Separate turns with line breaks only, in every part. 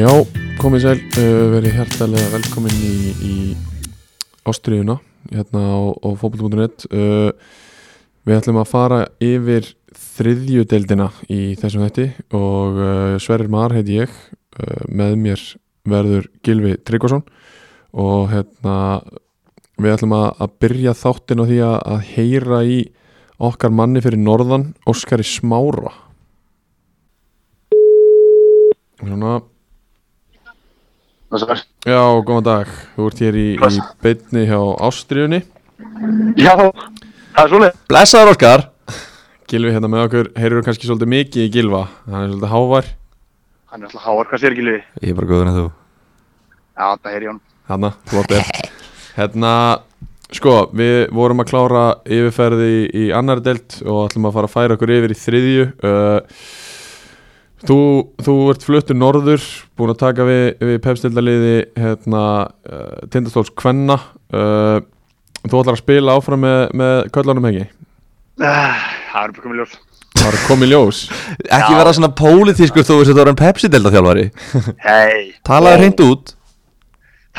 Já, komið sæl, uh, verið hjertalega velkomin í, í Ástriðuna hérna á, á fókbalt.net uh, Við ætlum að fara yfir þriðju deildina í þessum þætti og uh, Sverrir Mar heiti ég uh, með mér verður Gilvi Tryggvason og hérna við ætlum að, að byrja þáttin á því að, að heyra í okkar manni fyrir norðan Óskari Smára Svona
Það svar.
Já, góðan dag. Þú ert hér í, í beinni hjá Ástriðunni.
Já, það er svolítið.
Blessaður Óskar
Gilvi hérna með okkur, heyrður kannski svolítið mikið í Gilva. Hann er svolítið hávar.
Hann er alltaf háar, hvað sér ekki liði?
Ég er bara góður en þú
Já, það er í honum.
Hanna, flott er. Hérna, sko, við vorum að klára yfirferði í, í annar delt og ætlum að fara að færa okkur yfir í þriðju. Uh, þú, þú ert fluttur norður, búin að taka við, við pepstildaliði hérna, uh, Tindastóls Kvenna. Uh, þú ætlar að spila áfram með, með köllunum hengi.
Ah, Það er bara komið ljós.
Það er komið ljós.
Ekki vera svona pólitískur þú veist að þú er en Pepsi-delta þjálfari
Hei.
Talaðu hreint út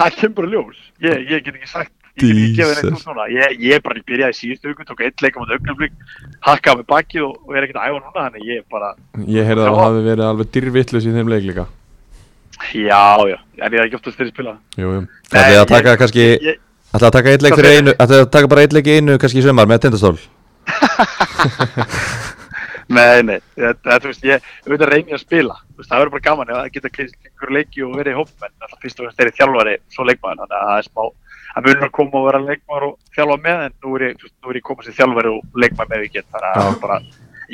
Það kemur bara ljós. Ég, ég get ekki sagt, ég get ekki gefið neitt
Jesus.
út núna. Ég, ég bara byrjaði síðustu viku, tók eitt leik á móti augnumflík, hakkaði með bakið og, og er ekkert að æfa núna, þannig ég er bara,
Ég heyrði að
Já.
það hafi verið alveg dyrvittlus í þeim leik líka
já, já, en ég er ekki oftast þeirri spila.
Jú, jú
Ætlaði að
Nei,
taka
ég-
kannski
ég-
Ætlaði að taka eitt leik
Hvað
fyrir
segirðu?
einu Ætlaði að taka bara eitt leik í einu kannski í sömar með tindastól
Nei, nei, þetta, þú veist, ég, ég veit að reyni að spila, þú veist, það verður bara gaman ef að geta kynningur leiki og verið í hópmenn, alltaf fyrst og fremst er ég þjálfari, svo leikmaður, þannig að það er smá, að munur að koma og vera leikmaður og þjálfa með, en nú er ég, þú veist, nú er ég komað sem þjálfari og leikmaður með vikið, þannig að það er bara,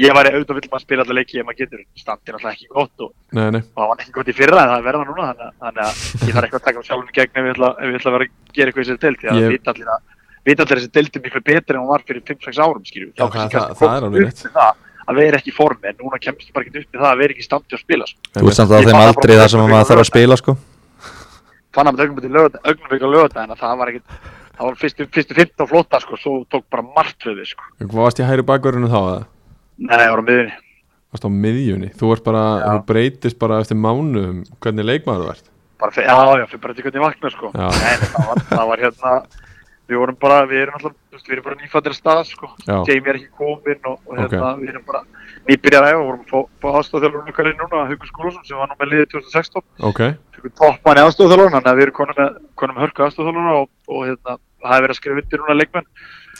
ég væri auðvitað vill maður spila alla leiki ef maður getur, standið er alltaf ekki gott og,
Nei, nei,
og það var ekki gott í fyrra en það er verða núna, þannig að- þannig að ég þarf eitthvað að taka sjálfum í gegn ef ég ætla, ef ég ætla að vera að gera eitthvað í þessari deild, því að
Ég-
vita allir að vita allir að þessi deildi miklu betur en hún var fyrir 5-6 árum skilju
Já, það- það- það er alveg rétt.
það, að vera ekki í formi en núna kemst ég bara ekki upp með það að vera ekki í standi að spila sko.
Þú ert samt
Ég
að þeim
bara
aldrei
bara-
þar sem maður þarf að spila sko
fann að augnum til augnum ykkur lögða en það var ekki það var fyrstu, fyrstu 15 flotta sko svo tók bara margt við þið sko
hvað varst ég hægri bakverðinu þá að
nei það var á miðunni
Varst á miðjunni, þú ert bara, þú breytist bara eftir mánuðum hvernig leikmaður þú ert
bara fyrir, já já fyrir bara til hvernig ég vakna sko
Já.
nei nei, það var, það var hérna við vorum bara við erum alltaf þú veist, við erum bara nýfættir að staða sko
Já.
Jamie er ekki kominn og, og
Ok.
hérna við erum bara nýbyrjar aðeins og vorum að fá- fá aðstofþjálfur okkar inn núna Haukur Skúlason sem var nú með liðið 2016
Ok,
tökum toppmann í aðstofþjálfur þannig að við erum konum með, konum með hörku aðstofþjálfur og, og hérna, það hefur verið að skrifa undir núna leikmenn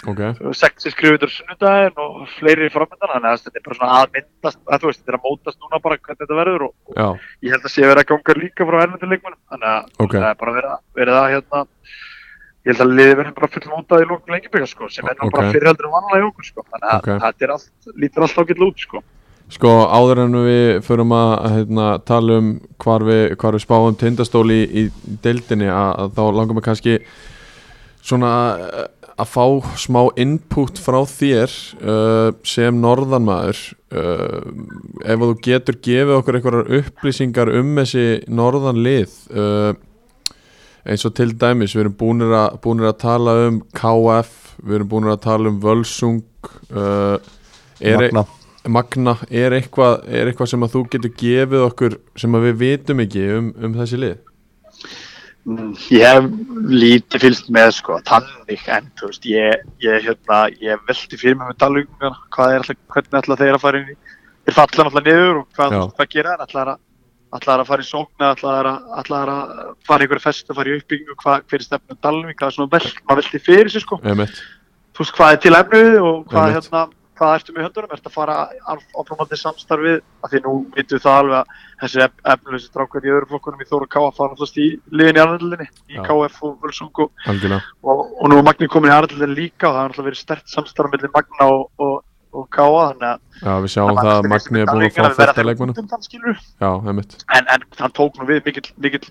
ok,
sexi skrifa undir á sunnudaginn og fleiri framöndan þannig að þetta er bara svona að myndast að þú veist, þetta er að mótast núna bara hvernig þetta verður og, og
já,
ég held að sé verið að ganga líka frá erlendur leikmennum þannig að
Ok.
það er bara verið að, verið að hérna ég held að liði verður bara full mótað í lókun lengjaböka sko, sem er nú bara
Ok.
fyrirhaldur vanlega í okkur sko, þannig að
Ok.
þetta er allt, lítur allt ágætt út sko.
sko áður en við förum að hérna, tala um hvar við, hvar við spáum tindastóli í, í deildinni að, að þá langar mig kannski svona eh, að fá smá input frá þér uh, sem norðanmaður uh, ef þú getur gefið okkur einhverjar upplýsingar um þessi norðanlið uh, eins og til dæmis við erum búinir að, búinir að tala um KF, við erum búinir að tala um Völsung uh, er,
Magna.
Magna, er eitthvað, er eitthvað sem að þú getur gefið okkur sem að við vitum ekki um, um þessi lið
Mm, Ég hef lítið fylgst með sko, tannig, en þú veist, ég, ég, hérna, ég velti fyrir mig með talungana, hvað er alltaf, hvernig ætla þeir að fara inn í, þeir falla alltaf niður og hvað,
Já.
hvað gera þeir, ætla þeir að, ætla þeir að fara í sókna, ætla þeir að, ætla þeir að fara í einhverja fest fara í uppbyggingu, hvað, hver er stefnum talning, hvað er svona vel, maður velti fyrir sig sko,
Einmitt.
þú veist, hvað er til efnu og hvað,
Einmitt.
hérna, hvað ertu með í höndunum, ertu að fara áframandi samstarfið, af því nú vitum við það alveg að þessi ef, efnlösi drákar í öðru flokkunum í Þóra K að fara alltaf í liðin í Arnaldinni, í
Já.
KF og Völsung og,
algjörlega
og, og nú er Magni komin í Arnaldinni líka og það er alltaf verið stert samstarf mellir Magna og, og, og K þannig að
Já, við sjáum það að Magni er búin að fá fyrsta leikmannu
leikmannu
Já, einmitt
en, en hann tók nú við mikill, mikill,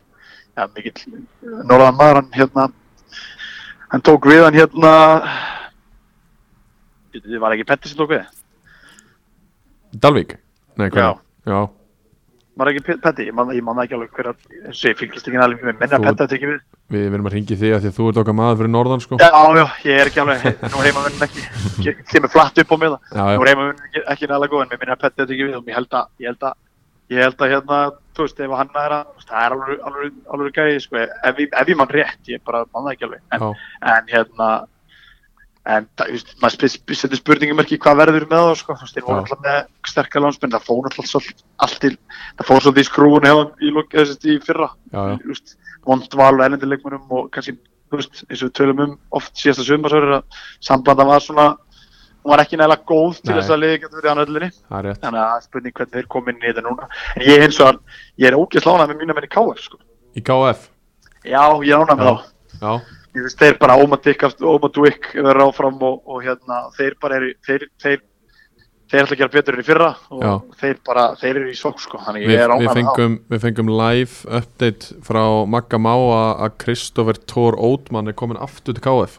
ja, mikill norðan maður hann hérna hann tók við hann hérna þið var ekki Petti sem tók við
Dalvík? Nei,
Já.
hvernig? Já,
var ekki Pe- Petti, ég man, ég man það ekki alveg hver að eins og ég fylgist ekki alveg með menna
Þú-
Petti að tekja við
við verðum að ringi þig að því að þú ert okkar maður fyrir norðan sko
já, já, ég er ekki alveg, nú heima verðin ekki ég kemur flatt upp á mig það
Já,
nú
já,
er heima verðin ekki, ekki nægilega góð en mér minna að Petti að tekja við og ég held að ég held að, ég held að hérna þú veist, ef hann er að, þú veist, það er alveg, alveg, alveg gæði, sko, ef, ég- ef ég mann rétt, ég bara mann það ekki alveg, en,
Já,
en hérna, en, það, þú veist, maður spyr- spyr- setur spurningum ekki hvað verður með það, sko, þú veist, þeir voru
Já.
alltaf með sterkar lánsmenn, það fór alltaf svolítið, allt til, það fór svolítið í skrúun hefðan í, lok- eða sem sagt í fyrra,
já, já,
þú veist, vond val og erlendileikmunum og kannski, þú veist, eins og við tölum um oft síðasta sömarsörur að samblanda var svona, hún var ekki nægilega góð til
Nei.
þess að liði getur verið á nöðlunni
það er rétt
þannig að það er spurning hvernig þeir komin í þetta núna en ég eins og hann, ég er ógeð slánað með mína menn í KF sko.
Í KF,
já, ég er ánað með
Já.
þá
já,
Ég veist, þeir bara ómadikk ómadvík verður áfram og, og hérna, þeir bara eru þeir, þeir, þeir ætla að gera betur en í fyrra og
Já.
þeir bara, þeir eru í sokk sko, þannig
við,
ég er
við,
ánað með þá
fengum, við fengum live update frá Magga Má að að Kristoffer Thor Ótmann er komin aftur til KF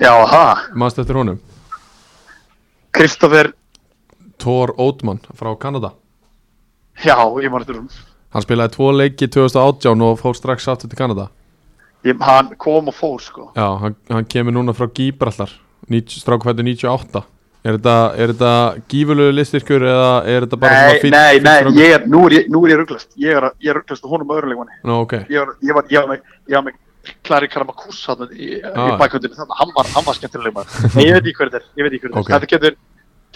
já, það,
Manst eftir honum?
Kristoffer
Thor Ótmann frá Kanada
já, ég man eftir hún
Hann spilaði tvo leiki 2018 og fór strax aftur til Kanada
ég, hann kom og fór sko
Já, hann, hann kemur núna frá Gíbrallar Strákvættu 98 Er þetta, er þetta gífulegu listyrkur eða er þetta bara
nei,
svona fínn-
nei,
fínn
nei,
strákur?
ég er, nú er ég, nú er ég rugglast ég er, að- ég er rugglast og honum að öruleikmanni
Nú, ok,
ég var, ég var, ég var með, ég var með Klari Karamakús þarna í, í
Ah.
bakhundinu þannig að hann var, hann var skemmtileg maður en ég veit ekki hver þetta er, ég veit ekki hver þetta
Ok.
er þetta getur,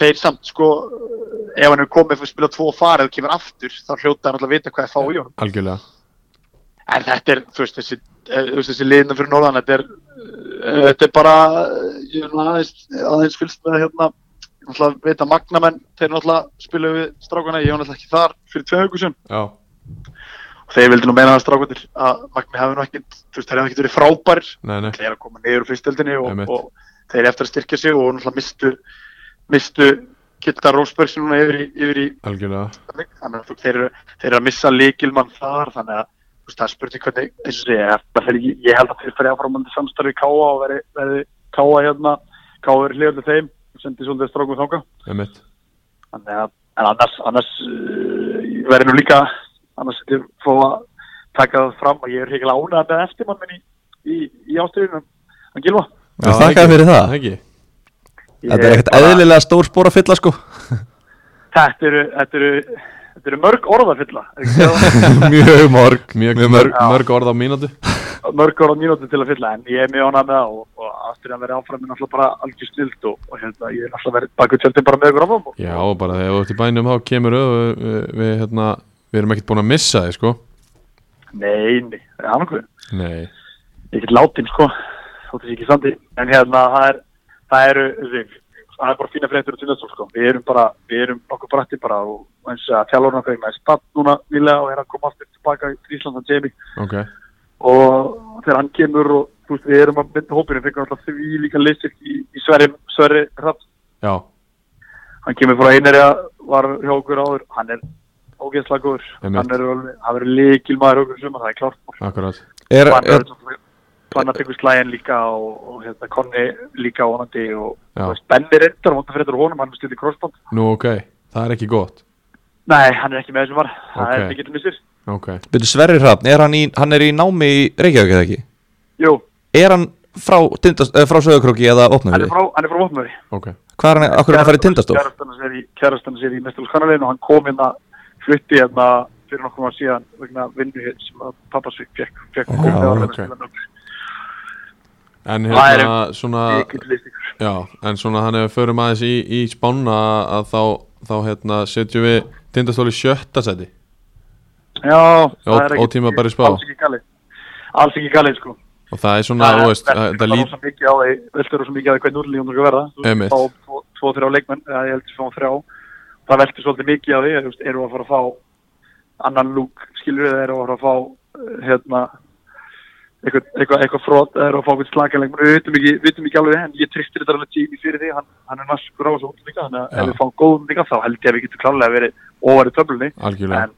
þeir samt sko ef hann er komið fyrir að spila tvo farið og kemur aftur, þá hljóta hann alltaf að vita hvað er fá í honum
algjörlega
en þetta er, þú veist, þessi eh, þú veist, þessi liðna fyrir norðan, þetta er eh, þetta er bara eh, ég er nú aðeins, aðeins fylgst með hérna náttúrulega veit að magnamenn, þeir náttúrulega spila við strákana, ég var náttúrulega ekki þar fyrir tvei hugusum
Já,
og þeir vildi nú meina það strákundir að Magni hafi nú ekkert, þú veist, þeir hefði ekkert verið frábærir
nei, nei,
þeir eru að koma niður úr fyrstöldinni og,
Einmitt.
og þeir eru eftir að styrkja sig og náttúrulega mistu, mistu Kitta Rósbergs núna yfir í, yfir í
algjörlega
þannig að þú- þeir eru, þeir eru að missa líkilmann þar þannig að þú veist, það er spurning hvernig eins og segja, ég, ég held að þeir fyrir áframandi samstarfi Káa og verði, verði Káa hérna, Káa verið hljóðlega þeim og sendi svolítið strákum þanga
Einmitt.
þannig að en annars, annars uh, ég verði nú líka annars þetta er fóð að taka það fram og ég er hreiklega ánað með eftirmann minn í, í, í ástriðunum hann Gilva
Já,
Við þakkaði fyrir það.
Ekki,
Ég
Þetta er ekkert
bara-
eðlilega stór spór að fylla sko
þetta eru, þetta eru, þetta eru mörg orðafylla
Mjög morg
mjög,
Mjög
mörg,
mörg.
mörg orð á mínútu
mörg orða mínúti til að fylla en ég er mjög ánað með það og, og ástriðan verði áfram minn alltaf bara algjör snild og, og hérna, ég er alltaf verið baku tjöldin bara með ykkur áfram og,
Já, bara þegar þú ert í bænum þá kemur við, við, við, hérna, við erum ekkert búin að missa þig, sko
nei, nei, hann okkur
Nei,
ekkert látin sko þóttis ekki sandi en hérna það er það eru þig það er bara fína fréttur og tundastól sko við erum bara við erum nokkuð brætti bara og og eins að þjálfurinn okkar með spatt núna nýlega og er að koma aftur tilbaka í Ísland að Jamie
ok,
og þegar hann kemur og þú veist við erum að mynda hópinu fengum alltaf því líka leysir í, í Sverri Sverri Raps
já,
hann kemur frá einari að var hjá okkur áður hann er ógeðslega góður
Einmitt.
hann er alveg hann verður líkil maður okkur sumar það er klart
akkurat
er, er,
Fannatekur slæðin líka og, og hérna, Konni líka vonandi og
Já.
þú veist, Benni reyndar, vonandi fyrir þetta honum, hann er stundið crossband.
Nú, ok, það er ekki gott
Nei, hann er ekki með þessum var, það er
Ok.
mikill missir.
Ok,
Byrju Sverri Hrafn, er hann, í, hann er í námi í Reykjavík eða ekki?
Jú,
Er hann frá, tindast, eh, frá Söðakróki eða
hann er
Opnafjörði?
frá, hann er frá Vopnveri.
ok,
Hvað er hann, okkur er hann að fara í tindastól?
Kjærastan sér í mestalskanalinu og hann kom hérna, flutti hérna fyrir nokkur maður síðan vegna vinnu hér sem að pappas fekk, fekk
Já,
ok. en
Það er
hérna, svona
Mikill listikur.
Já, en svona hann ef við förum aðeins í, í spána að- að þá, þá hérna, setjum við tindastóli sjötta seti
Já,
Ó- ótímabæri spá.
Alls ekki galið, alls ekki galið sko.
og það er svona, þú veist, það það
er
lít
rosa mikið á því, veltur rosa mikið á því hvernig úrlíðum þú skal verða. Þú
Einmitt.
fá tvo, tvo, þrjá leikmenn, eða ég heldur fá þrjá. Það veltur svolítið mikið á því, þú veist, eru að fara að fá annan lúk, skilur við, eru að fara að fá, eh, hérna, eitthvað, eitthvað, eitthvað frót, eru að fá eitthvað slakalegmenn. Við vitum ekki, vitum ekki alveg, en ég tristir þetta alveg tími fyrir því, hann, hann er naskur á þessu út líka, þannig að
Já.
ef við fáum góðum líka, þá held ég að við getum klálega verið óvar í töflunni,
algjörlega
en,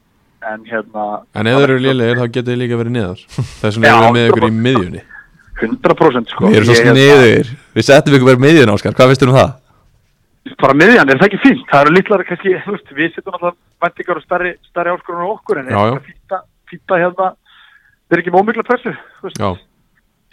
en hérna...
En ef þeir eru lélegir þá getur þeir líka verið neðar Þess vegna
Já,
erum við með
sko.
ykkur í miðjunni
100% sko.
Við erum svo
Ég-
sniður Við settum ykkur bara miðjun áskar, hvað veistu um það?
bara miðjan, er það ekki fínt? Það eru litlar kannski, þú veist, við setjum alltaf vendingar og starri, starri áskorunar á okkur en
Já, já.
er fýta, fýta hérna við erum ekki með ómikla pressu þú veist.
Já,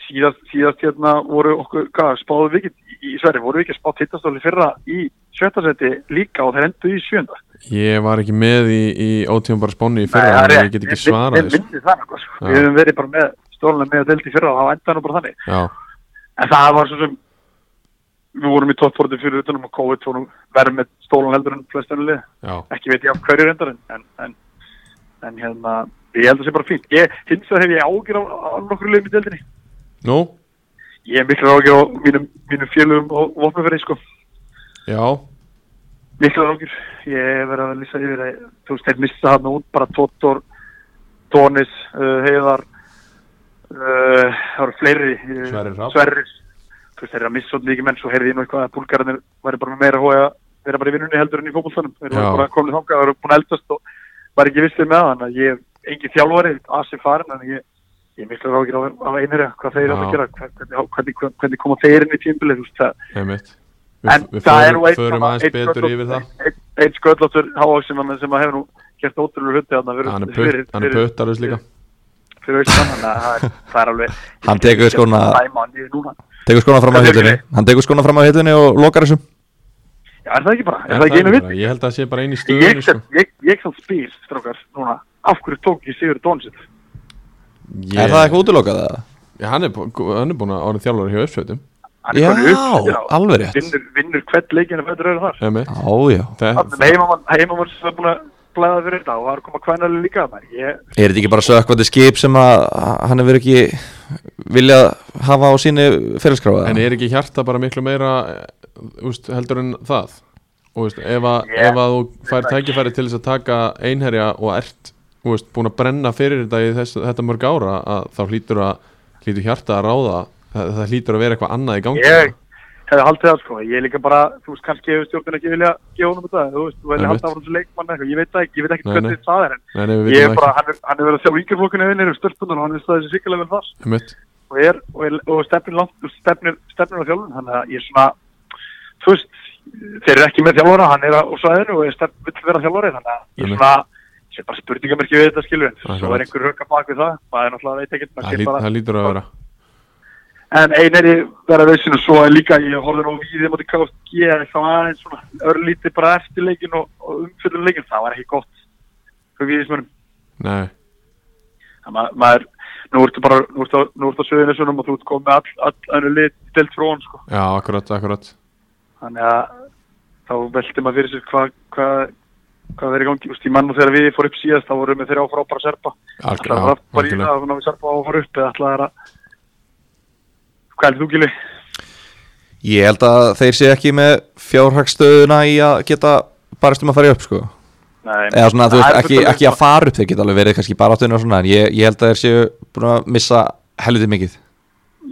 síðast, síðast hérna voru okkur, hvað, spáðu við ekki í, í Sverri, voru við ekki að spá tittastóli fyrra í sjötta seti líka og þeir endu í sjönda
Ég var ekki með í, í ótíðum bara spáni í
Nei,
fyrra
það er
þannig að
rétt.
ég get ekki
Við-
svarað
Við
þessu.
myndum það nokkuð, sko.
Já.
Við höfum verið bara með stóluna með að delta í fyrra og það endaði nú bara þannig.
Já,
En það var svo sem, við vorum í toppfortum fyrir um utanum og COVID vorum verið með stólan heldur en flestunni lið.
já,
Ekki veit ég af hverju reyndar en, en, en, en hérna, ég held að það sé bara fínt. Ég, hins vegar hef ég ágjur á, á nokkur liðum í deildinni.
nú,
Ég hef miklar ágjur á mínum, mínum félögum og vopnafyrir, sko.
já,
Miklar ágjur. Ég hef verið að lýsa yfir að, þú veist, þeir missa hann út, bara Tóttor, Tónis, uh, Heiðar, uh, það voru fleiri. Uh,
Sverrir Hrafn.
Sverrir. Þú veist, þeir eru að missa hann mikið menn, svo heyrði ég nú eitthvað að búlgararnir væri bara með meira hója, þeir eru bara í vinnunni heldur en í fótboltanum. Þeir eru
Já.
bara komin þangað, þeir eru búin að eldast og var ekki vissið með þannig að ég, engin þjálfari, asi farin, en ég, ég miklar ágjur á, á einherja, hvað þeir eru að
Já.
gera, hvernig, hvernig, hvernig koma þeir inn í tímbilið, þú veist, það,
einmitt.
En
Við, við
það er
förum,
nú einn
förum
sem að-
aðeins
einn
betur
sköllóttur-
yfir það.
einn- Einn sköllóttur hávaksinn sem að hefur nú gert ótrúlega hluti þarna fyrir-
Hann er
fyrir-
putt- hann er
fyrir-
puttarus líka.
fyrir austan þannig að það er- það er alveg
Hann tekur skóna-
Dæma hann niður núna.
Tekur skona fram á
Þetta er
hillunni Hann tekur skona fram á hillunni og lokar þessu
Já, er það ekki bara? Er
En
það ekki
er
einu
bara-
viti?
Ég held að það sé bara einu
Ég
stöðunni sko.
sem- ég- ég sem spýr, strókar, núna af hverju tók ég Sigur Dónsið?
Ég-
Er það eitthvað útilokað? eða?
Já, Hann er bú- hann er búin að orða þjálfur hjá uppsveitum
Hann er
Já,
bara uppsettur á-
alveg rétt
Vinnur, vinnur hvert leikinu betur öðru þar
einmitt.
Á, já
Það-
Þannig með heimamann heimamann sem er búin að blæða fyrir þetta og það er að koma kvænali líka maður. Ég,
Er þetta ekki bara sökvandi skip sem að hann hefur ekki viljað hafa á síni fyrirskráða?
En er ekki hjarta bara miklu meira eh, úst, heldur en það? Úst, ef, að,
Ég-
ef að þú fær tækifæri til þess að taka einherja og ert úst, búin að brenna fyrir þetta í þess, þetta mörg ára að þá hlýtur, að, hlýtur hjarta að ráða það, það hlýtur að vera eitthvað annað í gangi
ég hefði haldið það sko, ég er líka bara, þú veist, kannski hefur stjórnin ekki vilja gefa honum þetta, þú veist, þú velja
Einmitt.
haldið áfram sem leikmann eitthvað, ég veit það ekki, ég veit ekki
Nei,
hvernig
nei.
það er, en
Nei, nei, við
ég
vitum
er
það
bara,
ekki
hann er, hann er verið að sjá yngirflokkinu vinnir um störtunum, hann er staðið sér sikkilega vel þar
Einmitt.
og er, og, er, og stefnir langt, og stefnir, stefnir á þjálfun, þannig að ég er svona, þú veist, þeir eru ekki með þjálfara, hann er á svæðinu og er stefn, vill vera þjálfari, þannig að ég er
Einmitt.
svona, ég er bara spurningamerki við þetta skilur, en svo
Akkurat.
er einhver röka bak við það, það er náttúrulega veit ekkert, maður
Það
sér
hlýt-
bara-
það hlýtur að vera
En einari verða veysinu svo að líka ég horfði nú víðið moti KFG en það var aðeins svona örlítið bara eftir leikin og, og umfyllum leikin, það var ekki gott fyrir víðismönum.
Nei,
Ma, maður, nú ertu bara, nú ertu, á- nú ertu á söðunisunum og þú ert komið all, all önnu lit delt frá hann sko.
já, akkurat, akkurat
Þannig að þá velti maður fyrir sér hvað hva, hva verið í gangi. Þú veist, í mann og þegar við fór upp síðast þá vorum við þeirra áfara áfara serpa.
Alg-
Það
já,
var bara í
algjörlega.
það að ná við serpa áfara upp eða ætlaði þeirra Hvað heldur þú, Gilvi?
Ég held að þeir sé ekki með fjárhagstöðuna í að geta barist um að fara upp sko
Nei,
eða svona þú
það
veist
er
ekki,
fullt af-
ekki að fara upp þeir geta alveg verið kannski bara áttunni og svona en ég, ég held að þeir séu búin að missa helviti mikið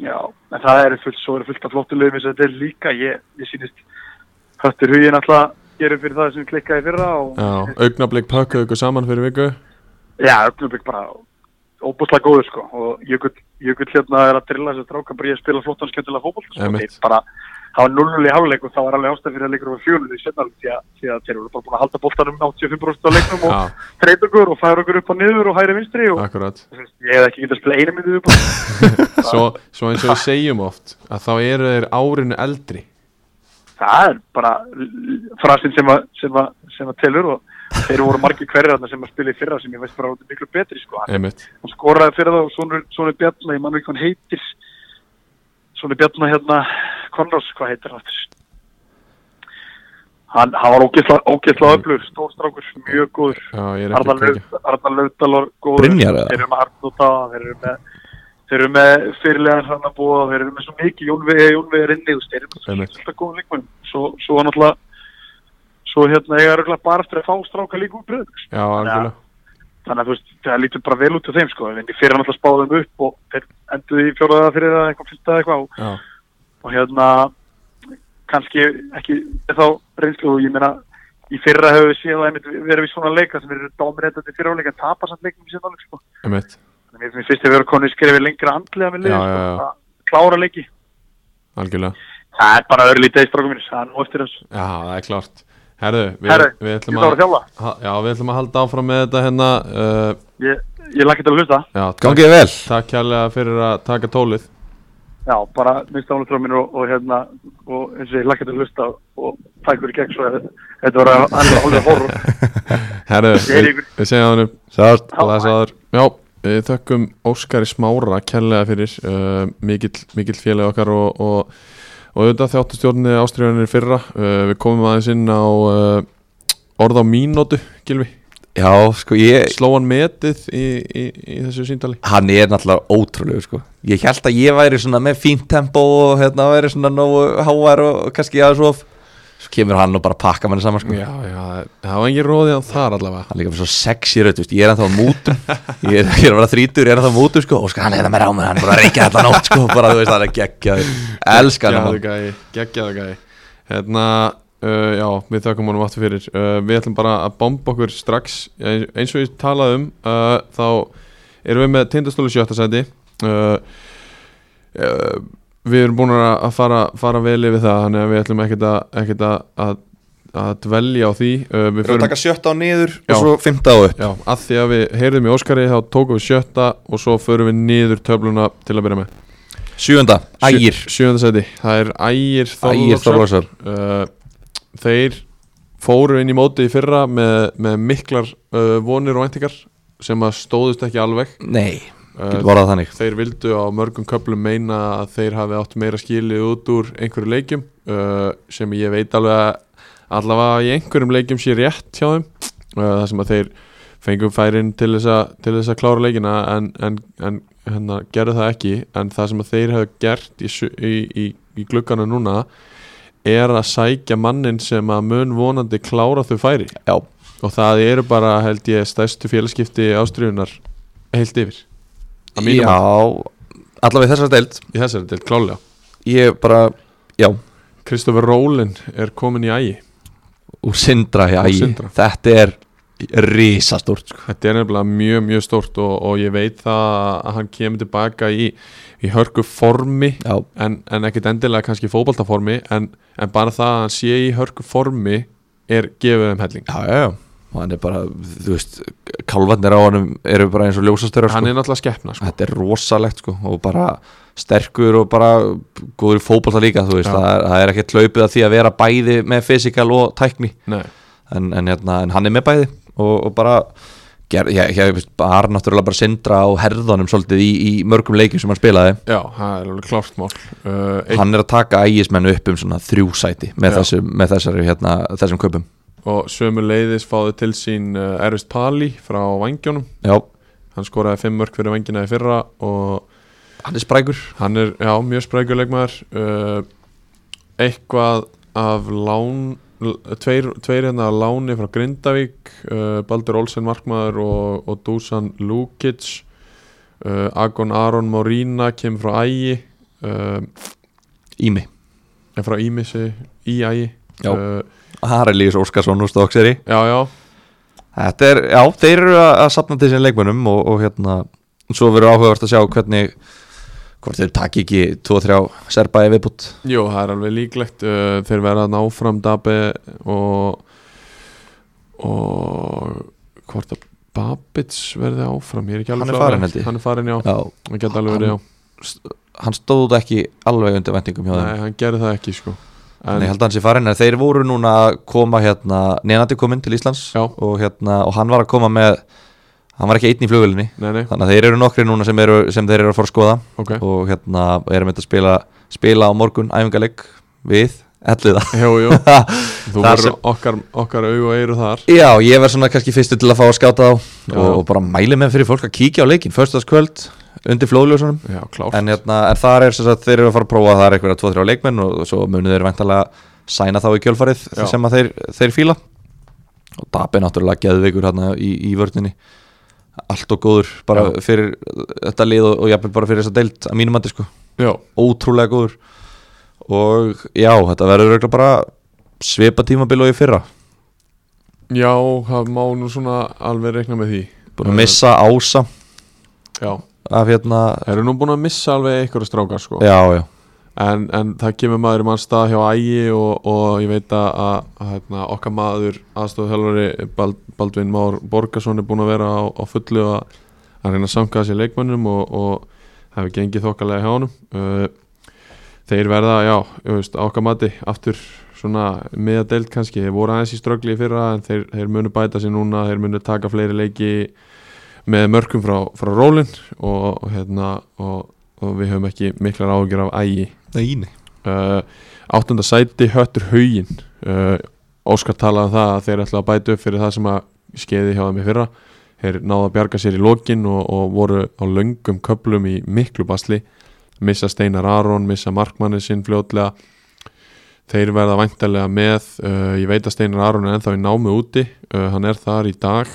Já, en það eru fullt, svo eru fullt af flottu lögum eins og þetta er líka, ég, ég sýnist höttur hugin alltaf gerum fyrir það sem klikkaði í fyrra og
Já, augnablík pökkuðu ykkur saman fyrir viku
já, öfnublik bara óbúslega góður sko og Jökull, Jökull hérna er að drilla þessi stráka bara ég að spila flottan skemmtilega fótboll sko,
Einmitt.
þeir bara, það var 0-0 í háluleik og það var alveg ástæð fyrir að leikur var fjölun í sennalum því, að- því að þeir eru bara búin að halda boltanum 85% á leiknum og
Já,
treyta okkur og færa okkur upp og niður og hæri vinstri og
akkurat
ég hef ekki getað að spila einu myndið upp
svo, svo eins og við segjum oft að þá eru þeir árinu eldri
það er bara l- frasinn sem að, sem að, sem að telur og þeir voru margir hverjir þarna sem að spila í fyrra sem ég veist bara út miklu betri sko. hann,
einmitt,
hann skoraði fyrir það og sonur, sonur Bjarnar, ég mann ekki hvað hann heitir sonur Bjarnar hérna Konrads, hvað heitir hann aftur? hann, hann var ógeðsla- ógeðslega öflur, stórstrákur, mjög góður
já ég er ekki að kveikja
Arnar Löfdalor góður
Brynjar, eða?
þeir eru með Arnóta þeir eru með þeir eru með fyrirlegan hann að búa þeir eru með svo mikið Jónvegi Jónvegi er inni þú veist, þeir eru með svo
Einmitt.
mikið alltaf góðum leikmennum svo, svo var náttúrulega svo hérna ég er auðvitað bara eftir að fá stráka líka úr bröðum
já, algjörlega,
þannig að þú veist það lítur bara vel út á þeim sko en ég fyrir náttúrulega spáðum upp og þeir enduðu í fjóraða fyrir það eitthvað fyrsta eitthvað og
já,
og hérna kannski ekki þá reynslu og ég meina í fyrra hefur við séð að einmitt verið við svona leika sem eru dámreitandi fyrra áleika en tapar samt leikum í sinna leik sko.
einmitt
Þannig að mér finnst að vera konið skrifið lengra andlega með leik
Já, já, já.
sko, að klára leiki
algjörlega,
það er bara öðru lítið í strákum mínus það er nú eftir þessu
já, það er klart herðu, við,
Herru,
við
ég
ætlum
þarf að
að
þjála
ha- já, við ætlum að halda áfram með þetta hérna uh,
ég, ég lakka til að hlusta
já, takk,
Gangið vel
takk kærlega fyrir að taka tólið
já, bara minnst ánum minn og, og hérna og eins og ég lakka til að hlusta og takk fyrir gegn svo að þetta var alveg alveg horror
Herðu,
Ég
við,
heyri ykkur.
við segja hann upp
Sátt
Læsaður Já, við þökkum Óskari Smára kellega fyrir uh, mikill, mikill félag okkar og, og, og auðvitað þjáttustjórni ástriðanir fyrra uh, Við komum aðeins inn á uh, orð á mínótu, Gilvi
Já, sko, ég
Sló hann metið í, í, í þessu síndali
Hann er náttúrulega ótrúlegu, sko Ég held að ég væri svona með fínt tempo og hérna væri svona nógu hávar og kannski aðeins of Svo kemur hann og bara pakka manni saman, sko
Já, já, það var engin róðið hann þar allavega
Hann er líka með svo sexy rödd, veist, ég er ennþá á mútu Ég er, ég er að vera þrítur, ég er ennþá á mútu, sko Og sko, hann er það með rámur, hann er bara að reykja þetta nótt, sko Bara, þú veist, hann er geggjaður Elskan hann
Geggjaðu gæi, geggjaðu gæi Hérna, uh, já, við þökkum honum aftur fyrir uh, Við ætlum bara að bomba okkur strax Ein- eins og ég talaði um uh, þá erum við með tindastólu sjötta sæti uh, uh, Við erum búin að að fara, fara vel yfir það þannig að við ætlum ekkert að, ekkert að, að, að dvelja á því uh, Við
Við erum að
förum-
taka sjötta á niður
Já.
og svo fymta á upp
Já, að því að við heyrðum í Óskari þá tókum við sjötta og svo förum við niður töfluna til að byrja með
Sjöunda, ægir
Sjö- Sjöunda sæti, það er Ægir Þorláksson
Ægir Þorvarsson
uh, þeir fóru inn í mótið í fyrra með, með miklar uh, vonir og væntingar sem að stóðust ekki alveg
Nei, getur
uh,
varað þannig
þeir vildu á mörgum köplum meina að þeir hafi átt meira skilið út úr einhverju leikjum uh, sem ég veit alveg að allavega í einhverjum leikjum sé rétt hjá þeim uh, þar sem að þeir fengum færin til þess að, til þess að klára leikina en, en, en hérna, gerðu það ekki en það sem að þeir hafa gert í, su- í, í, í gluggana núna er að sækja mannin sem að mun vonandi klára þau færi
Já.
og það eru bara held ég stærstu félagskipti ástriðunar heilt yfir Að mínu
Já, allavega þessar deild
í þessari til klálega
Ég bara, já,
Kristoffer Rólin er komin í ægi
úr sindra já,
Úr
ægir
Sindra.
Þetta er risastórt sko.
Þetta er nefnilega mjög, mjög stórt og, og ég veit það að hann kemur tilbaka í, í hörku formi
Já,
en, en ekkit endilega kannski fótbaltaformi en, en bara það að hann sé í hörku formi er gefið um helling
já, já, já Og hann er bara, þú veist, kálvarnir á hann eru bara eins og ljósastörar
Hann
sko.
er náttúrulega skeppna sko.
Þetta er rosalegt sko og bara sterkur og bara góður í fótbolta líka, þú veist,
Já.
það er, það er ekkert hlaupið að því að vera bæði með fysikal og tækni
Nei,
en, en, hérna, en hann er með bæði og, og bara ger, ég, ég, veist, bara hann náttúrulega bara sindra á herðanum svolítið í, í mörgum leikjum sem hann spilaði
Já, það er alveg klárt mál uh, eitt-
hann er að taka ægismenn upp um svona þrjú sæti með,
Já.
þessu, með þessari, hérna, þessum kaupum
og sömu leiðis fáðu til sín uh, Ervist Pali frá Vangjónum
já,
hann skoraði fimm mörg fyrir Vangjina í fyrra og
hann er sprækur
hann er já, mjög sprækulegmaður uh, eitthvað af lán l- tveir, tveir hérna af láni frá Grindavík uh, Baldur Olsen Markmaður og, og Dusan Lukic uh, Agon Aron Morína kemur frá Ægi uh,
Ími,
en frá Ímisi í Ægi
Já.
uh,
Haralíus Óskarsson úr Stókseri
já, já,
þetta er, já, þeir eru að, að sapna til sín leikmönnum og, og hérna svo verður áhugavert að sjá hvernig hvort þeir taki ekki 2-3 serba í viðbútt
Jú, það er alveg líklegt uh, þeir verða að ná fram Dabbe og og hvort að Babits verði áfram, ég er ekki alveg
Hann er
klár á
farinn,
það.
held ég.
Hann er farin, já,
já,
hann geti alveg verið, já
hann stóð ekki alveg undir vendingum hjá þeim
Nei, hann gerði það ekki, sko
En
En,
ég held að hans í farin en þeir voru núna að koma hérna, Nenandi kom inn til Íslands
Já.
og, hérna, og hann var að koma með hann var ekki einn í flugvölinni
nei, nei,
þannig að þeir eru nokkri núna sem, eru, sem þeir eru að fara að skoða
ok
og hérna erum þetta að spila, spila á morgun æfingaleg við elliða
Jú, jú, þú
Þar
verður
sem-
okkar, okkar augu og eyru þar
Já, ég verð svona kannski fyrstu til að fá að skáta þá
Já.
og, og bara mæli með fyrir fólk að kíkja á leikin förstaskvöld undir flóðljósunum
Já, klárt
en, hérna, en þar er sem sagt, þeir eru að fara að prófa það er einhverja 2-3 leikmenn og, og svo munið þeir væntalega sæna þá í kjölfarið
Já.
sem að þeir, þeir fíla og Dabbi er náttúrulega geðveikur hérna í, í vörninni allt og góður bara
Já.
fyrir þetta lið og, og jafnvel bara fyrir þessa deilt að mínum andi sko,
Já,
ótrúlega góður og já, þetta verður örugglega bara svipa tímabil og í fyrra
já, það má nú svona alveg reikna með því
búin að missa ása
Já,
af hérna,
erum nú búin að missa alveg einhverja strákar, sko
já, já
en, en það kemur maður í mann stað hjá ægi og, og ég veit að, að, að hérna, okkar maður aðstofþjálfari Bald, Baldvin Már Borgarsson er búin að vera á, á fullu að, að reyna að samkaða sér leikmönnum og, og það hefur gengið þokkalega hjá honum uh, þeir verða, já, ég veist, á okkar mati aftur svona miða deild kannski þeir voru aðeins í ströggli í fyrra en þeir, þeir munu bæta sér núna, þeir munu taka fleiri leiki með mörgum frá, frá rólinn og, og hérna og, og við höfum ekki miklar áhugjur af ægi
Nei, nei
uh, áttunda sæti höttur haugin uh, Óskar talaði um það að þeir ætla að bæta upp fyrir það sem að skeiði hjá þeim í fyrra þeir náðu að bjarga sér í lokin og, og voru á löngum köplum í miklu basli missa Steinar Aron, missa markmanni sinn fljótlega þeir verða væntalega með uh, ég veit að Steinar Aron er ennþá í námi úti uh, hann er þar í dag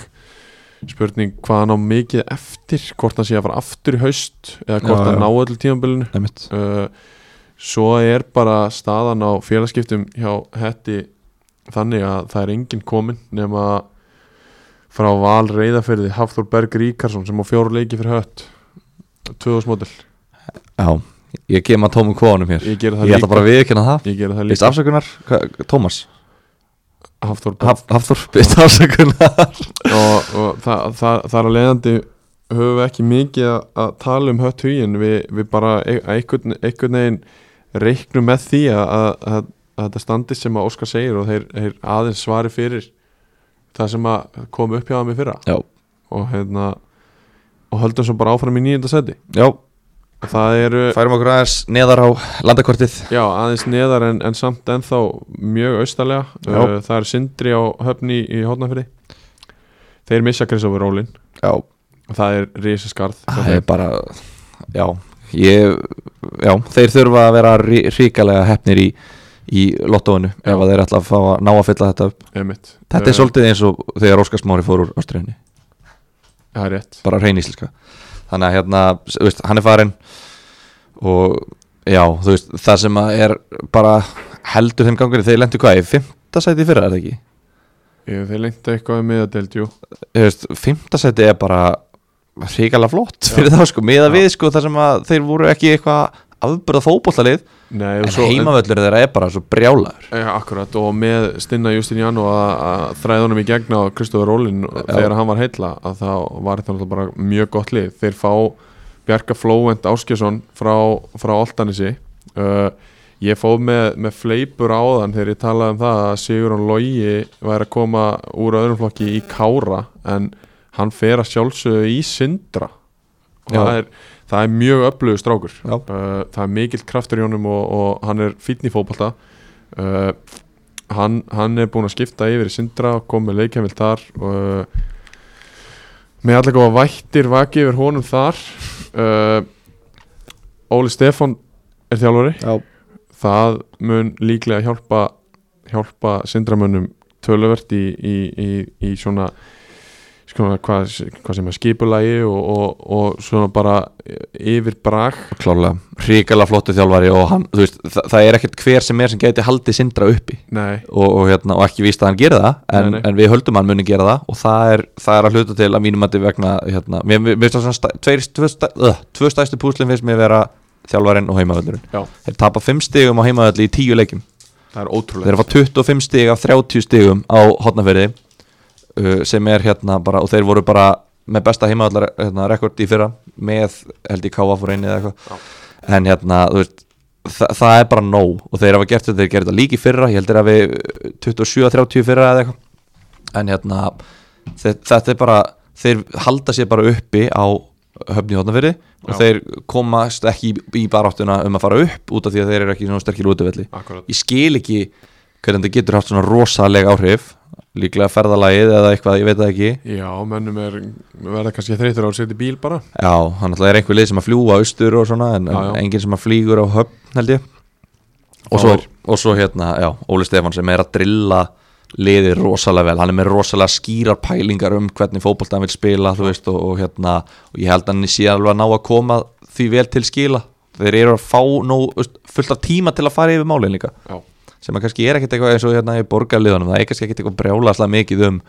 spurning hvað hann á mikið eftir hvort hann sé að fara aftur í haust eða hvort
Já,
hann
já.
ná öll tímabilinu
Einmitt.
uh, svo er bara staðan á félagskiptum hjá Hetti þannig að það er enginn kominn nema frá val reyðafyrði Hafþór Berg Ríkarsson sem á fjóru leiki fyrir hött 2000-mótil,
Já, ég kem að tómum kvónum hér
ég gera það
Ég ætla
líka
bara að viðkynna það
ég gera það
Býst
líka
afsökunar, hva- Tómas
Hafþór Berg
Haf- Hafþór, býst afsökunar
og, og það, það, þar að leiðandi höfum við ekki mikið að, að tala um hött hugin við, við bara e- að einhvern, einhvern veginn reiknum með því að, að, að, að þetta standi sem að Óskar segir og þeir, þeir aðeins svari fyrir það sem að kom upp hjá þeim í fyrra
Já,
og, hérna, og höldum svo bara áfram í nýjönda seti
já,
og það eru
færum okkur aðeins neðar á landakortið
já, aðeins neðar en, en samt ennþá mjög austalega
Já.
Uh, það er Sindri á höfni í Hótnafyrði þeir missa Kristofur Rólin
Já,
og það er risaskarð hjá
það
þeim.
er bara Já, ég Já, þeir þurfa að vera rí- hrikalega hefnir í, í lottóinu ef
Já.
að þeir ætla að fá að ná að fylla þetta upp
Einmitt. Eh,
Þetta er svolítið eins og þegar Óskar Smári fór úr Ástriðinni
Það er rétt
bara hrein íslenska þannig að hérna, s- þú veist, hann er farin og já, þú veist það sem að er bara heldur þeim gangur, þeir lendu hvað, í fymta sæti í fyrra er það ekki?
Ég, Þeir lengta eitthvað með að deild, jú
Þú veist, fymta sæti er bara hrikalega flott fyrir þá sko, miða
Já.
við sko þar sem að þeir voru ekki eitthvað afbyrða fótbollalið
Nei,
en heimavöllur þeirra er bara svo brjálaður
en, ja, Akkurat, og með Stinna Justin Jan og að, að þræðunum í gegna á Kristofur Rólin þegar hann var heilla að þá var þetta náttúrulega bara mjög gott lið Þeir fá Bjarka Flóvent Áskjesson frá, frá Altanisi uh, Ég fóð með, með fleipur áðan þegar ég talaði um það að Sigurón Logi væri að koma úr öðrum flokki í Kára en hann fer að sjálfsögðu í Sindra og
Já.
það er, það er mjög öflugur strákur
Já.
uh, það er mikill kraftur í honum og, og hann er fínn í fótbolta uh, hann, hann er búinn að skipta yfir í Sindra og kom með leikjafil þar og uh, með allir góða vættir vaki yfir honum þar uh, Óli Stefán er þjálfari
Já,
það mun líklega hjálpa hjálpa syndramönnum töluvert í, í, í, í svona svona hvað, hvað sem er skipulagi og, og, og svona bara yfir brag
klálega, hrikalega flottu þjálfari og hann, þú veist, það, það er ekkert hver sem er sem gæti haldið sindra uppi
nei,
og, og, hérna, og ekki víst að hann gera það en,
Nei, nei.
en við höldum að hann muni gera það og það er, það er að hluta til að mínum að vegna hérna, mér mér finnst það svona stæ, tveir, tvö, stæ, uh, tvö stæstu púslin finnst mér vera þjálfarinn og heimavöllurinn
já,
þeir tapa 5 stigum á heimavölli í 10 leikum
það er
þeir
ótrúlega
eru að fá 25 stig af 30 stigum á hotnaferði uh, sem er hérna bara og þeir voru bara með besta heimavallar hérna, rekord í fyrra með held ég káa fór einni eða eitthvað en hérna þú veist þa það er bara nóg og þeir hafa gert þetta þeir gerði þetta líki fyrra ég held þeir hafi uh, 27-30 í fyrra eða eitthvað en hérna þe- þetta er bara þeir halda sér bara uppi á höfni hotnaferði og
Já.
þeir komast ekki í, í baráttuna um að fara upp út af því að þeir eru ekki svona sterkir útvelli
akkurat,
ég skil ekki hvernig þetta getur haft svona rosaleg áhrif líklega ferðalagið eða eitthvað, ég veit það ekki
já, mennum er verða kannski þreytur á að setja í bíl bara
já, hann alltaf er einhver leið sem að fljúa austur og svona, en,
Já, já.
en enginn sem að flýgur á höfn held ég og
Þá
svo,
er-
og svo hérna, já, Óli Stefán sem er að drilla liðið rosalega vel hann er með rosalega skýrar pælingar um hvernig fótbolta hann vil spila, þú veist og, og hérna, og ég held að hann sé alveg að ná að koma því vel til skila þeir eru að fá nóg, þú veist, fullt af tíma til að fara yfir málin líka
já,
sem að kannski er ekkert eitthvað eins og hérna í borgarliðunum það er kannski ekkert eitthvað brjálaslega mikið um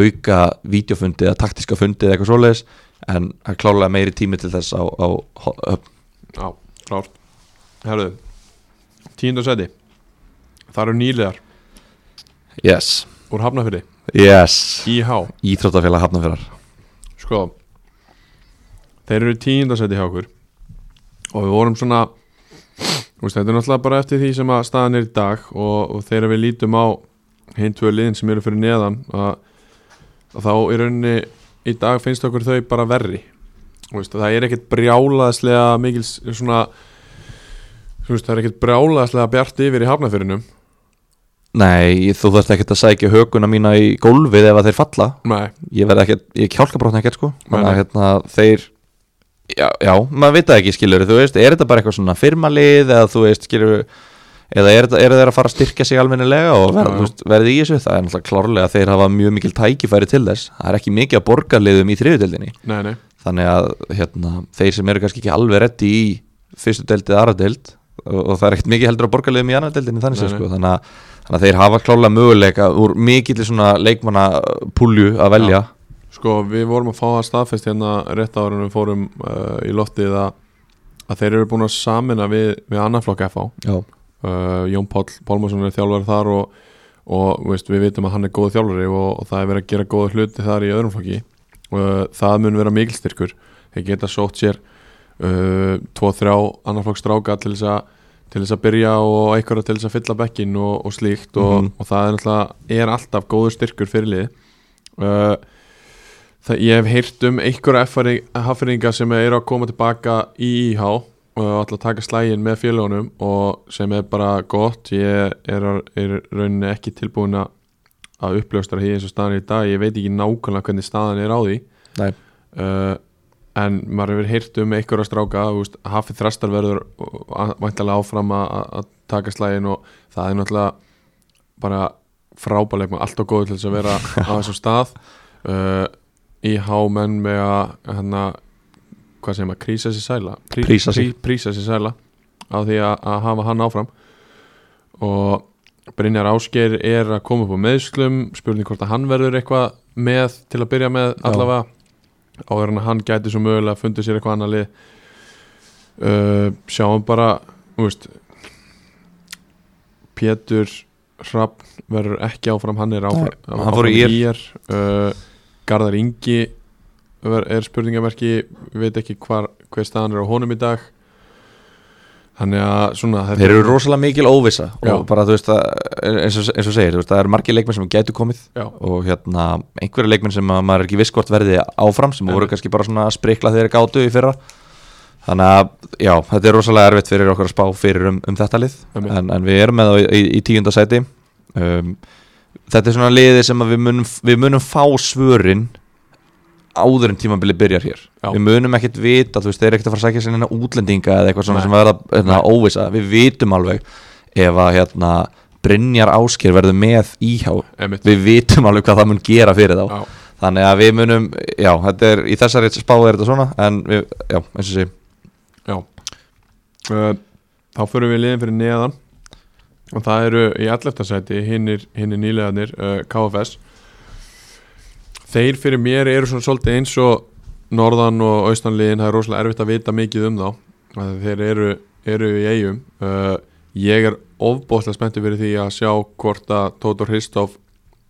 auka vídeofundi eða taktiska fundi eða eitthvað svoleiðis en það er klálega meiri tími til þess á, á, á
já, klárt herruðu, tíund og seti það eru nýliðar
yes,
úr Hafnafyrði,
yes
IH
Íþróttafélag hafnafjörðar
Sko Þeir eru tíundarsæti hjá okkur Og við vorum svona Þú veist, þetta er náttúrulega bara eftir því sem að staðan er í dag og, og þegar við lítum á hinn tvö liðin sem eru fyrir neðan að, að þá í rauninni í dag finnst okkur þau bara verri Þú veist, það er ekkert brjálaðslega mikil s- svona þú veist, það er ekkert brjálaðslega bjart yfir í hafnafyrinu
Nei, þú þarft ekkert að sækja höguna mína í gólfið ef að þeir falla
Nei,
Ég verð ekkert, ég kjálka brotna ekkert sko
Nei,
Þannig að
nei.
hérna, þeir Já, já, maður veit það ekki skilur Þú veist, er þetta bara eitthvað svona firmalið Eða þú veist, skilur Eða er, þetta- eru þeir að fara að styrkja sig almennilega Og
Já,
verð,
já.
þú veist, verði í þessu Það er náttúrulega klárlega að þeir hafa mjög mikil tækifæri til þess Það er ekki mikið að borga liðum í þriðudeldinni
nei, nei
Þannig að hérna, þeir sem eru kannski ekki alveg reddi í fyrstu deild eða aðra deild og, og það er ekkert mikið heldur að borgarlegum í annar deildinni
Nei,
þannig,
nei.
séð, sko, þannig, að, þannig að þeir hafa klálega möguleika úr mikill svona leikmanna pulju að velja
Sko, við vorum að fá það staðfest hérna rétt ára en við fórum uh, í loftið að, að þeir eru búin að samina við, við annarflokk FH
Já,
uh, Jón Páll Pálmarsson er þjálfari þar og, og veist, við vitum að hann er góð þjálfari og, og það er verið að gera góða hluti þar í öðrum flokki uh, það mun vera mikilstyrkur þeir geta sótt sér uh, tvo, þrjá annarflokks stráka til þess að til þess að byrja og einhverja til þess að fylla bekkin og, og slíkt og,
Mhm.
og það er, náttúrulega- er alltaf góður styrkur fyrir liði uh, það, ég hef heyrt um einhverja hafferinga sem eru að koma tilbaka í IH og ætla að taka slægin með félagunum og sem er bara gott ég er, er rauninni ekki tilbúin að að uppljóstra hér eins og staðan er í dag ég veit ekki nákvæmlega hvernig staðan er á því
Nei.
uh, en maður hefur heyrt um einhverja stráka þú veist, hafið þrastar verður uh, væntanlega áfram að- að að taka slægin og það er náttúrulega bara frábæleik með allt og góð til þess að vera á þessum stað uh, IH menn með að hérna, hvað segir maður, krísa sér sæla Prí-
Prísa sig.
prí- prísa sér sæla á því að, að hafa hann áfram og Brynjar Ásgeir er að koma upp á meðslum spurning hvort að hann verður eitthvað með til að byrja með
Já.
allavega áður en að hann gæti svo mögulega að fundi sér eitthvað annað lið uh, sjáum bara þú veist, Pétur Hrafn verður ekki áfram hann er áfram,
Nei, hann fór í
áfram IR uh, Garðar Ingi ver- er spurningamerki við veit ekki hvar, hver staðan er á honum í dag þannig að svona þetta-
þeir eru rosalega mikil óvissa
Já.
og bara þú veist að, eins og, eins og segir, þú veist, það eru margir leikmenn sem gætu komið
Já.
og hérna einhverju leikmenn sem að maður er ekki viss hvort verði áfram sem
Nei.
voru kannski bara svona að sprikla þegar gátu í fyrra þannig að já, þetta er rosalega erfitt fyrir okkur að spá fyrir um, um þetta lið
Einmitt.
en, en við erum með það í, í tíunda sæti um, þetta er svona liði sem að við munum, við munum fá svörin áður en tímabili byrjar hér
Já.
við munum ekkert vita, þú veist, þeir eru ekkert að fara að sækja sér neina útlendinga eða eitthvað svona
Nei.
sem verða hérna, óvisa, við vitum alveg ef að hérna Brynjar Ásker verður með íhá
Einmitt.
við vitum alveg hvað það mun gera fyrir þá
Já.
þannig að við munum, já, þetta er í þessari spá er þetta svona, en við, já, eins og sé
Já uh, Þá förum við liðin fyrir neðan og það eru í 11. sæti hinnir, hinnir nýlegaðnir uh, KFS Þeir fyrir mér eru svona svolítið eins og norðan og austanliðin, það er rosalega erfitt að vita mikið um þá af því þeir eru, eru í eigum uh, Ég er ofbóðslega spenntið fyrir því að sjá hvort að Tóthor Hristóf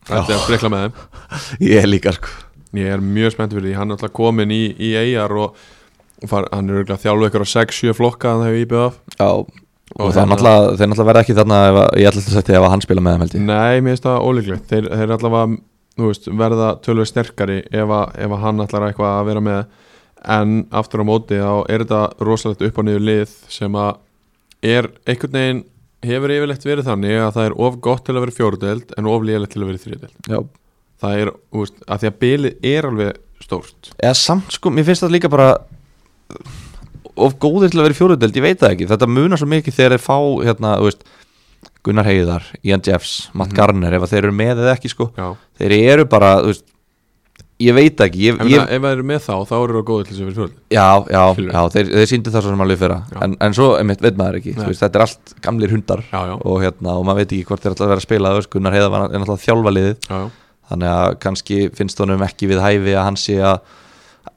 ætti að sprikla með þeim
ég er líka, sko
Ég er mjög spennt fyrir því, hann er alltaf komin í, í eigjar og far, hann er örugglega að þjálfa ykkur á 6-7 flokka hann hefur íbjöð af
já, og,
Og
það er
hérna-
náttúrulega, þeir náttúrulega verða ekki þarna ef, að- ég ætla að setja ef að hann spila með þeim held ég
Nei, mér finnst það ólíklegt Þeir, þeir allavega, þú veist, verða tölvöð sterkari ef, að, ef að hann allar eitthvað að vera með en aftur á móti þá er þetta rosalegt upp á niður lið sem að er einhvern veginn hefur yfirleitt verið þannig að það er of gott til að vera fjórdeld en of lélegt til að vera þriðdeld
já,
Það er, þú veist, að því að bilið er alveg stórt
eða samt sko, mér finnst það líka bara of góðir til að vera í fjóruðdelt, ég veit það ekki þetta munar svo mikið þegar þeir fá hérna, þú veist, Gunnar Heiðar, Ian Jeffs
Mhm.
Matt Garner, ef að þeir eru með eða ekki sko.
Já,
þeir eru bara, þú veist ég veit það ekki, ég,
ef,
ég,
ég... ef það eru með þá, þá eru það góðið til þess að vera fjórdeld
já, já,
Skilur.
já þeir, þeir síndu það svo sem alveg fyrra,
Já.
en, en svo einmitt, veit maður ekki,
Nei.
þú veist, þetta er allt gamlir hundar
Já, já,
og hérna, og maður veit ekki hvort þeir alltaf vera að spila, þú veist, Gunnar Heiðar var- er alltaf þjálfaliðið
já, já.
þannig að kannski finnst honum ekki við hæfi að hann sé að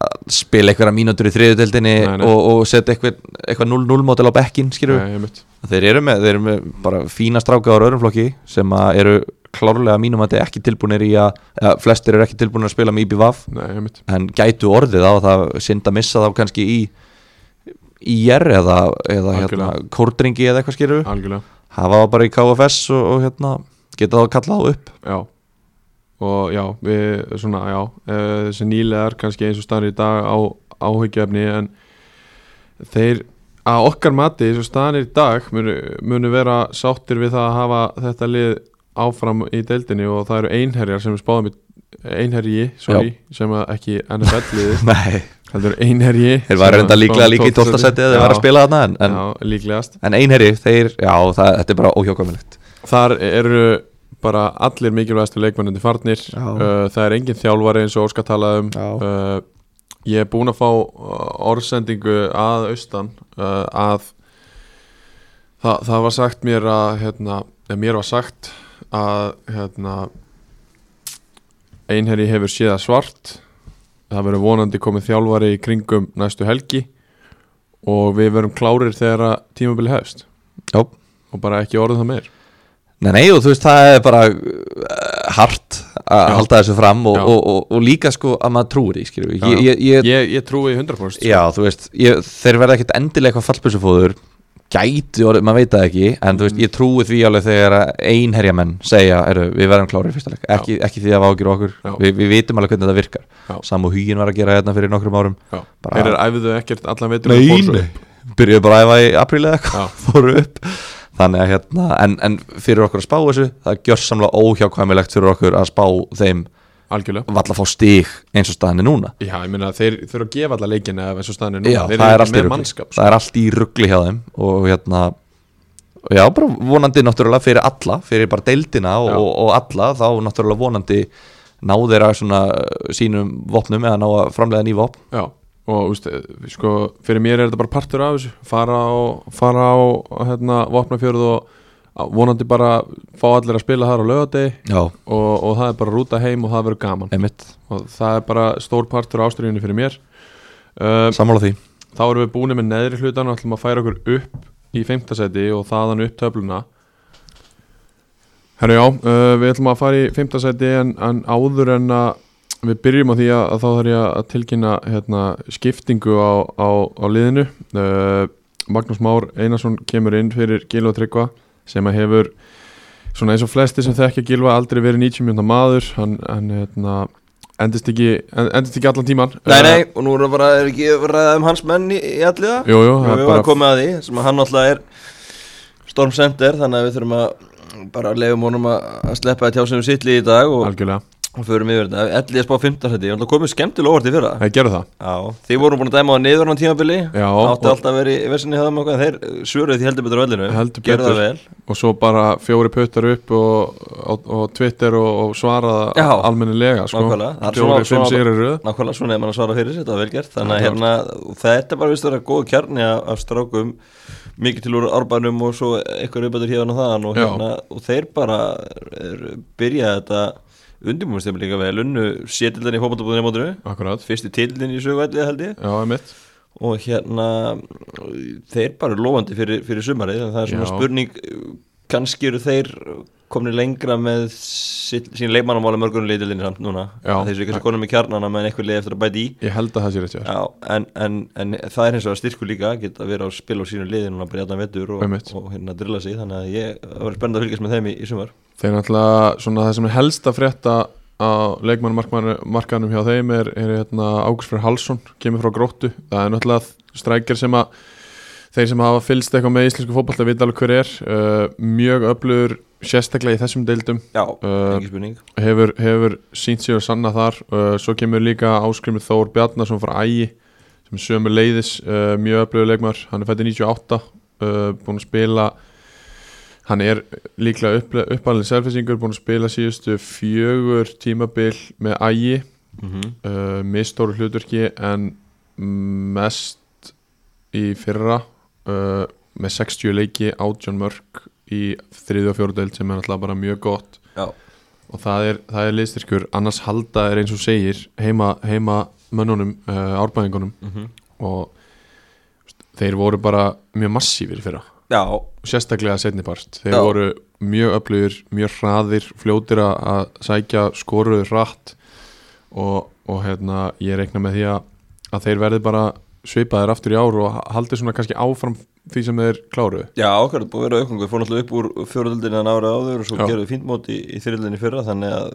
að spila einhverja mínútur í þriðutöldinni
Nei, nei.
og, og setja eitthvað, eitthvað 0-0 mótil á bekkin skilur
Nei, einmitt.
þeir eru með, þeir eru með bara fína stráka á röðrumflokki sem að eru klárlega mínum að þetta er ekki tilbúinir í að eða, flestir eru ekki tilbúinir að spila með IBVAF
Nei, einmitt.
en gætu orðið á það synd að missa þá kannski í IR eða, eða hérna,
Algjörlega.
kórdringi eða eitthvað skýrur
algjörlega
hafa það bara í KFS og, og hérna, geta þá kallað þá upp
Já og já, við svona, já eh, þessi nýlegar kannski eins og staðar í dag á áhyggjöfni en þeir að okkar mati eins og staðar í dag munu, munu vera sáttir við það að hafa þetta lið áfram í deildinni og það eru einherjar sem við spáðum í einherji, sorry, sem að ekki NFL-liði,
Nei,
heldur einherji
þeir var reynda líklega líka í 12. seti eða þeir var að spila þarna en, en,
Já, líklegast
en einherri, þeir, já, það, þetta er bara óhjókvæmilegt
Þar eru bara allir mikilvægastu leikmennandi farnir
Já.
uh, Það er engin þjálfari eins og Óskar talaði um uh, Ég er búinn að fá uh, orðsendingu að austan uh, að það, það var sagt mér að hérna, eða mér var sagt að hérna, einherji hefur séða svart það verður vonandi komið þjálfari í kringum næstu helgi og við verum klárir þegar að tímabili hefst
Já,
og bara ekki orðið það meir
Nei, nei, og þú veist, það er bara uh, hart að
Já.
halda þessu fram og,
Já.
og, og, og líka sko að maður trúir því, skiljum
Já,
ég, ég, ég,
ég, ég trúi 100% sko.
Já, þú veist, ég, þeir verða ekkert endilega eitthvað fallpilsufóður gæti orðið, maður veit það ekki en þú
Mm.
veist, ég trúi því alveg þegar að einherjamenn segja, eru, við verðum klárir í fyrsta leik ekki, ekki því að vágjur okkur,
Já.
Vi, við vitum alveg hvernig þetta virkar
Já.
Samu Hugin var að gera hérna fyrir nokkrum árum
Já.
bara-
þeir eru æfðu ekkert allan veitur
byrjuðu bara að æfa í apríli eða
Já.
eitthvað, fóru upp þannig að hérna, en, en fyrir okkur að spá þessu, það er gjörsamlega óhjákvæmilegt fyrir okkur að spá þeim
algjörlega
valla að fá stig eins og staðinni núna
Já, ég meina þeir þurfa að gefa alla leikin eða eins og staðinu núna,
Já,
þeir
það, er
eru
allt
ekki
í
með
rugli,
mannskap sko.
það er allt í ruggli hjá þeim og hérna já, bara vonandi náttúrulega fyrir alla fyrir bara deildina og,
Já.
og, og alla þá náttúrulega vonandi ná þeirra svona uh, sínum vopnum eða ná að framlega ný vopn
Já, og úst, sko, fyrir mér er þetta bara partur af þessu fara á, fara á hérna, vopnafjörð og á- vonandi bara fá allir að spila þar á lögadegi
Já,
og, og það er bara að rúta heim og það verður gaman
einmitt,
og það er bara stór partur ástriðinu fyrir mér uh,
sammála því
þá erum við búinir með neðri hlutan og ætlum að færa okkur upp í fimmtasæti og þaðan upp töfluna Herru já, uh, við ætlum að fara í fimmtasæti en, en áður en að við byrjum á því að, að þá þarf ég að tilkynna hérna, skiptingu á, á, á liðinu uh, Magnús Már Einarsson kemur inn fyrir Gilva Tryggva sem að hefur svona eins og flesti sem þekkja Gilva aldrei verið 90 mjönda maður hann, hann hérna, endist, ekki, endist ekki allan tíman
Nei, nei, og nú er það bara, er ekki ræðað um hans menn í, í alliða?
Uh, Jú, jú, það er
það er
bara-
bara komið að því, sem að hann náttúrulega er Storm Center, þannig að við þurfum að bara leifum honum að að sleppa að tjá sem við sitli í dag og,
Algjörlega,
og förum yfir þetta. Ellið er spá 15 seti, ég ætla að komið skemmtilega óvart í fyrra.
það gerðu það
Já, þið voru búin að dæma á niður hann tímabili,
Já,
átti
og-
alltaf að vera í versinni hefðum okkur, en þeir svöruðu því heldur betur á vellinu,
Heldur
gerðu
betur.
það vel.
og svo bara fjóri puttar upp og, og, og Twitter og, og svaraða
Já.
almennilega sko.
Nákvæmlega, það er
fjóri,
svona-
fimm
svona-
sigri röð
Nákvæmlega svona ef maður svara fyrir sér, þetta var vel gert Þannig að
Já,
hérna, þetta er bara vist að vera góð kjarni af, af strákum Mikið til úr árbænum og svo eitthvað rauðbætur hérna og þaðan og,
Já.
hérna, og þeir bara er, byrja þetta undirbúinstum líka vel Unnu sétildan í fótballtabúðinni mótinu
akkurat,
Fyrsti tildin í sögvælið held ég
já, emitt
Og hérna, þeir bara er lofandi fyrir, fyrir sumarið En það er svona
Já.
spurning, kannski eru þeir komni lengra með sitt, sín leikmannamála mörgunum liðildinni samt núna
Já.
Þeir eru kannski konum með kjarnana meðan eitthvað liði eftir að bæti í
ég held að það sé rétt hjá þér.
Já, en, en, en það er eins og að styrku líka að geta að vera á spil á sínu liði núna bara í allan vettur og,
Einmitt.
og hérna drilla sig þannig að ég það verður spennandi að fylgjast með þeim í, í sumar
þeir náttúrulega, svona það sem er helst að frétta á leikmannumarkanum hjá þeim er, er hérna, Ágúst Freyr Hallsson kemur frá gróttu, það er náttúrulega strækjar sem að þeir sem hafa fylst eitthvað með íslensku fótbolta vita alveg hver er uh, mjög öflugur sérstaklega í þessum deildum
Já,
Uh,
ekki spurning
hefur, hefur sínt sér að sanna þar uh, svo kemur líka áskrimið Þór Bjarnarsson frá Ægi sem er sömu leiðis uh, mjög öflögu leikmar, hann er fættið 98 uh, búin að spila hann er líklega upp, uppalinn selfisingur, búin að spila síðustu fjögur tímabil með Ægi
Mhm,
uh, mistóru hlutverki en mest í fyrra uh, með 60 leiki átjón mörg í þriðju og fjóru deild sem er alltaf bara mjög gott
Já,
og það er, það er liðstyrkur annars halda er eins og segir heima, heima mönnunum, uh, árbæðingunum
mhm.
og þeir voru bara mjög massífir í fyrra
já,
sérstaklega setnipart, þeir
Já.
voru mjög öflugir, mjög hraðir fljótir að- að sækja skoruðu hratt og, og hérna ég reikna með því að, að þeir verði bara svipaðir aftur í ár og haldið svona kannski áfram því sem þeir kláruðu
Já, okkar er búið að vera aukningu, við fórum alltaf upp úr fjöröldinni en ára áður og svo
Já.
gerðum við fínt mót í, í þyrildinni fyrra þannig að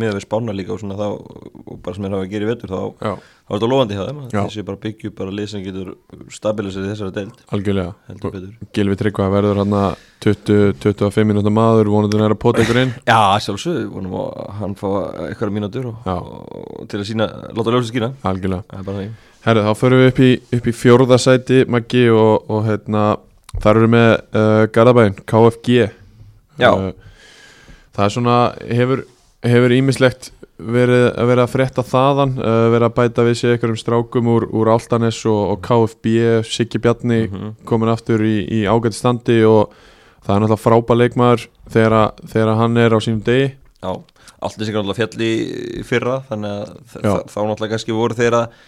með við spána líka og svona þá og bara sem er að gera í vetur þá
Já,
þá er þetta lofandi hjá þeim,
Já.
þessi bara byggju bara lið sem getur stabilisir þessara deild
algjörlega
heldur betur.
Gilvi Tryggva verður hérna hann 20-25 minúta maður vonandi hann er að pota ykkur inn
Já, sjálfsög, vonum að hann fá eitthvað mínútur og,
Já.
og til að sína, láta ljósa skýna
Algjörlega
það er bara því
Herru, þá förum við upp í, upp í fjórðasæti Maggi og, og hérna þar eru með uh, Garðabæn, KFG
Já.
Uh, Það er svona, hefur hefur ímislegt verið að vera að frétta þaðan, uh, verið að bæta við sig einhverjum strákum úr, úr Altanes og, og KFB, Siggi Bjarni komin aftur í, í ágæti standi og það er náttúrulega frábæð leikmaður þegar, að- þegar að hann er á sínum degi
Já, allt þessi náttúrulega fjall í fyrra þannig að þa-
Já.
þa- þá náttúrulega kannski voru þeir að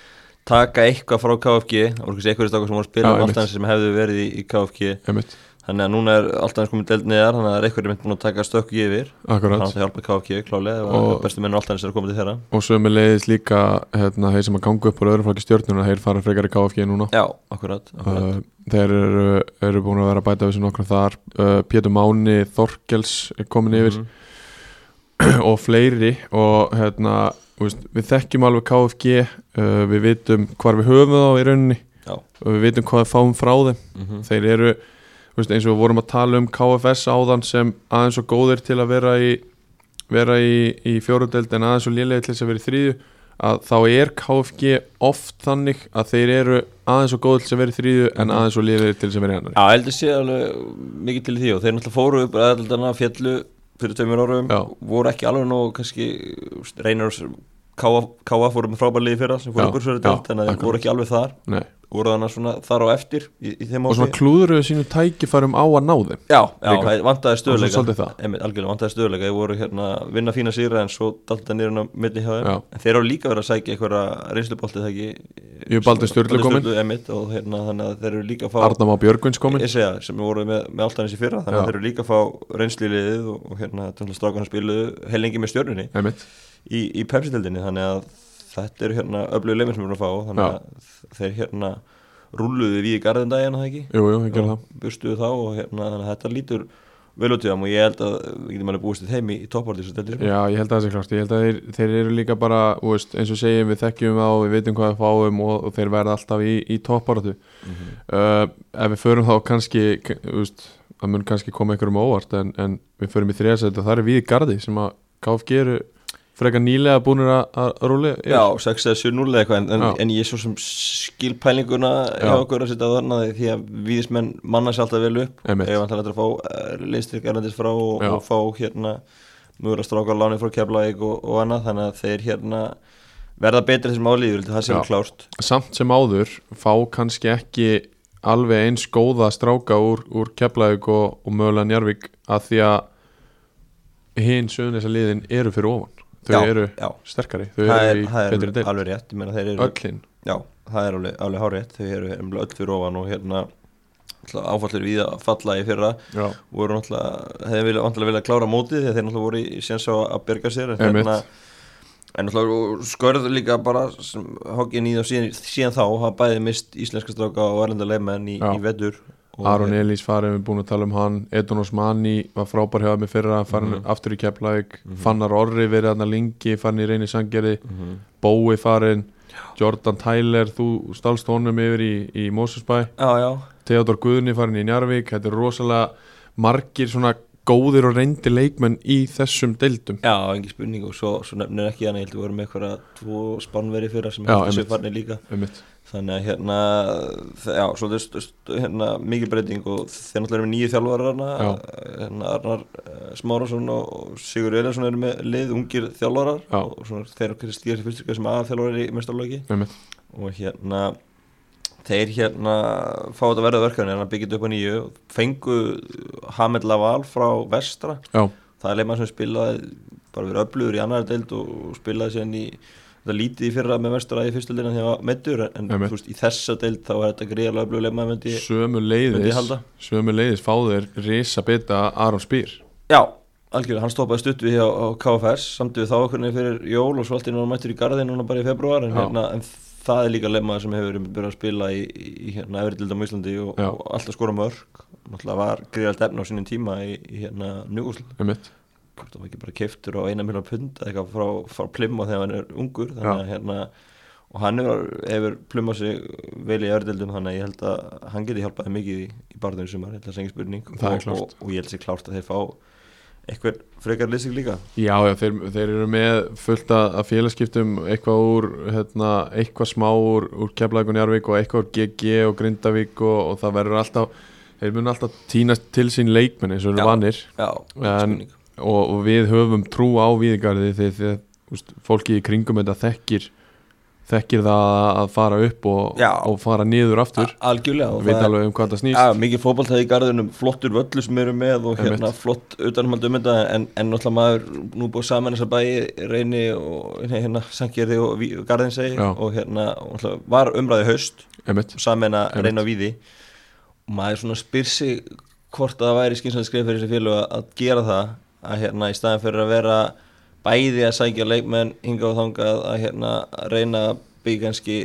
taka eitthvað frá KFG það voru kannski eitthvað stakar sem voru að
Já,
spila um
einmitt.
allt hans sem hefðu verið í, í KFG
einmitt,
þannig að núna er allt hans komið delt neðar þannig að það er eitthvað er mynd búin að taka stökku yfir
akkurat
þannig að það hjálpa KFG klálega
Og-
og bestu mennur allt hans er að koma til þeirra
Og sömu leiðis líka hérna, þeir sem að ganga upp úr öðrum flokki stjórnuna þeir fara frekar í KFG núna
Já, akkurat, akkurat.
uh, Þeir eru, eru búin að vera að bæta við sem nokkra þar uh, Pétur Máni, Þorkels er komin yfir
Mhm.
og fleiri og hérna, þú veist, við þekkjum alveg KFG uh, við vitum hvar við höfum þá í rauninni
Já.
og við vitum hvað við fáum frá þeim
Mhm.
þeir eru þú veist, eins og við vorum að tala um KFS áðan sem aðeins og góðir til að vera í vera í, í fjórudeld en aðeins og lélega til þess að vera í þriðju að þá er KFG oft þannig að þeir eru aðeins og góðir til þess að vera í þriðju en aðeins og lélega til þess að vera í annar
Já, ég held að sé alveg mikið til í því og þeir náttúrulega fóru upp aðeldana fjallu fyrir tveimur árum
Já.
voru ekki alveg nóg kannski reynir K.A. fóru með frábærlið fyrir sem
Já,
fóru okkur svo
já,
þetta þannig að þeir voru ekki alveg þar
Nei.
voru þannig svona þar á eftir í, í þeim
og svona
ári.
klúður við sínum tækifærum á að ná þeim
Já, já
líka.
það vantaði
Og svo svolítið
stöðuleika
það.
Einmitt, algjörlega vantaði stöðuleika þeir voru hérna að vinna fína síra en svo dalta niður hann á milli hjá þeim
Já.
en þeir eru líka verið að sækja einhverja reynslubolti það ekki
Jú, Baldur Sturlu kominn.
einmitt, og hérna, þannig að þeir eru líka að fá
Arnam á Björgvins komin
ég segja, sem voru með, með alltaf hans í fyrra þannig
Já.
að þeir eru líka að fá reynsliliðið og, og hérna strákan spiluðu hellingi með stjörnunni
Einmitt.
í, í Pepsi-deldinni þannig að þetta eru hérna öflugur leiminn sem við erum að fá þannig
Já.
að þeir hérna rúluðu við í garðindaginn það ekki
Jú, jú, ég gerði það
burstuðu þá og hérna þannig að þetta lítur vel út í þeim og ég held að við getum alveg búist til þeim í, í topparlýs
Já, ég held að það sé klart, ég held að þeir, þeir eru líka bara, þú veist, eins og segjum við þekkjum á, við veitum hvað við fáum og, og þeir verða alltaf í, í topparatu uh, Ef við förum þá kannski, k- þú veist, það mun kannski koma einhverjum á óvart en, en við förum í þriðasæti og það er við gardi sem að KFG eru frekar nýlega búinir að- að rúli
Já, 6 eða 7 0 eða eitthvað en, en,
Já.
en ég svo sem skilpælinguna hjá
Já.
okkur að setja þarna því að viðismenn manna sér alltaf vel upp
Einmitt.
eða vantilega að fá leistrik erlendis frá og,
Já.
og fá hérna mögulega stráka láni frá Keflavík og, og annað þannig að þeir hérna verða betri þessum álíður, það sem
Já.
er klárt
Samt sem áður fá kannski ekki alveg eins góða stráka úr, úr Keflavík og, og mögulega Njarvík að því að hinn söðun þessa liðin eru fyrir ofan Þau
Já,
eru
já.
sterkari, þau
það er,
eru í
það
betri
er
deild
alveg rétt, ég meina þeir eru
öllin
Já, það er alveg, alveg hárétt, þau eru nefnilega öll fyrir ofan og hérna áfallir við að falla í fyrra
já.
voru náttúrulega, hefði vilja, vantilega vilja klára mótið því að þeir náttúrulega voru í séns á að berga sér en
Einmitt.
hérna en náttúrulega skörð líka bara sem hoggin í þá síðan, síðan þá hafa bæði mist íslenska stráka og erlenda leifmenn í,
Já.
í vetur og
Aron Elís farið, við erum búin að tala um hann Edonos Manni var frábær hjá mig fyrra farin aftur í Keflavík,
Mhm.
Fannar Orri verið hann að lingi, farin í reyni sangjari
Mhm.
Bói farin Jordan Tyler, þú stálst honum yfir í, í Mósusbæ
Já, já,
Theodor Guðni farin í Njarvík þetta er rosalega margir svona góðir og reyndi leikmenn í þessum deildum
já, engin spurning og svo, svo nefnir ekki hann, ég held að voru með eitthvað tvo spannveri fyrra sem
Já,
held að
einmitt.
séu farnir líka
einmitt.
þannig að hérna þ- já, svo þetta er hérna, mikil breyting og þeir náttúrulega eru með nýju þjálfarar hana,
Já.
hérna Arnar eh, Smárasson og og Sigur Eliasson eru með lið ungir þjálfarar
Já.
og svona, þeir eru kannski stíðast fyrst sem aða þjálfarar í mestarlöki
Einmitt.
og hérna þeir hérna fá þetta verða verkefni hérna byggjum upp á nýju fengu Hamed Laval frá vestra
Já,
það er leikmann sem spilaði bara verið öflugur í annar deild og og spilaði sérn í þetta lítið í fyrra með mestur í fyrstu deildina þegar hann var meittur en
Einmitt.
þú veist, í þessa deild þá er þetta greiðalega öflugur leikmann myndi ég
sömu
myndi ég
leiðis
halda.
sömu leiðis fá þeir risa bita Aron Spýr
Já, algjörlega, hann stoppaði stutt við hér á, á KFS samt við þá okkurni fyrir jól og svo allt í núna mættur í garðin núna bara í februar en,
Já.
hérna, en það er líka lemmaður sem hefur byrjað að spila í, í í hérna efri dildum á Íslandi og,
Já.
og alltaf skora mörg náttúrulega var gríðald efna á sínum tíma í, í hérna njúgúsl
einmitt
hvort það var ekki bara keiftur á eina miljón pund eða eitthvað frá, frá plumma þegar hann er ungur þannig að hérna og hann hefur, hefur plummað sig vel í ördildum þannig að ég held að hann geti hjálpaði mikið í, í barðinu sumar, ég held að segja spurning
Það er
og,
klárt.
og, og ég held sér klárt að þeir fá eitthvað frekar lýsing líka
Já, já, þeir, þeir eru með fullt að að félagskiptum eitthvað úr, hérna, eitthvað smá úr, úr Keflavík og Njarvík og eitthvað úr GG og Grindavík og, og það verður alltaf, þeir munu alltaf tínast til sín leikmenn eins og
Já.
eru vanir
Já,
En- og, og við höfum trú á viðgarði því því að úst, fólki í kringum þetta þekkir þekkir það að fara upp og,
Já.
og fara niður aftur
algjörlega og
við
það er-
alveg um hvað það snýst
Já, mikið fótballtæði í garðinum, flottur völlu sem eru með og hérna
Einmitt.
flott utanumhald um þetta en, en náttúrulega maður nú búið saman þessar bæi reyni og nei, hérna Sankjörði og, Ví- og garðin segi
Já.
og hérna og náttúrulega var umræði haust
einmitt,
og saman að
Einmitt.
reyna á víði og maður svona spyr sig hvort að það væri skynsalega skrif fyrir þessi félög að- að gera það að hérna í staðin fyrir að vera bæði að sækja leikmenn hinga og þangað að hérna að reyna að byggja kannski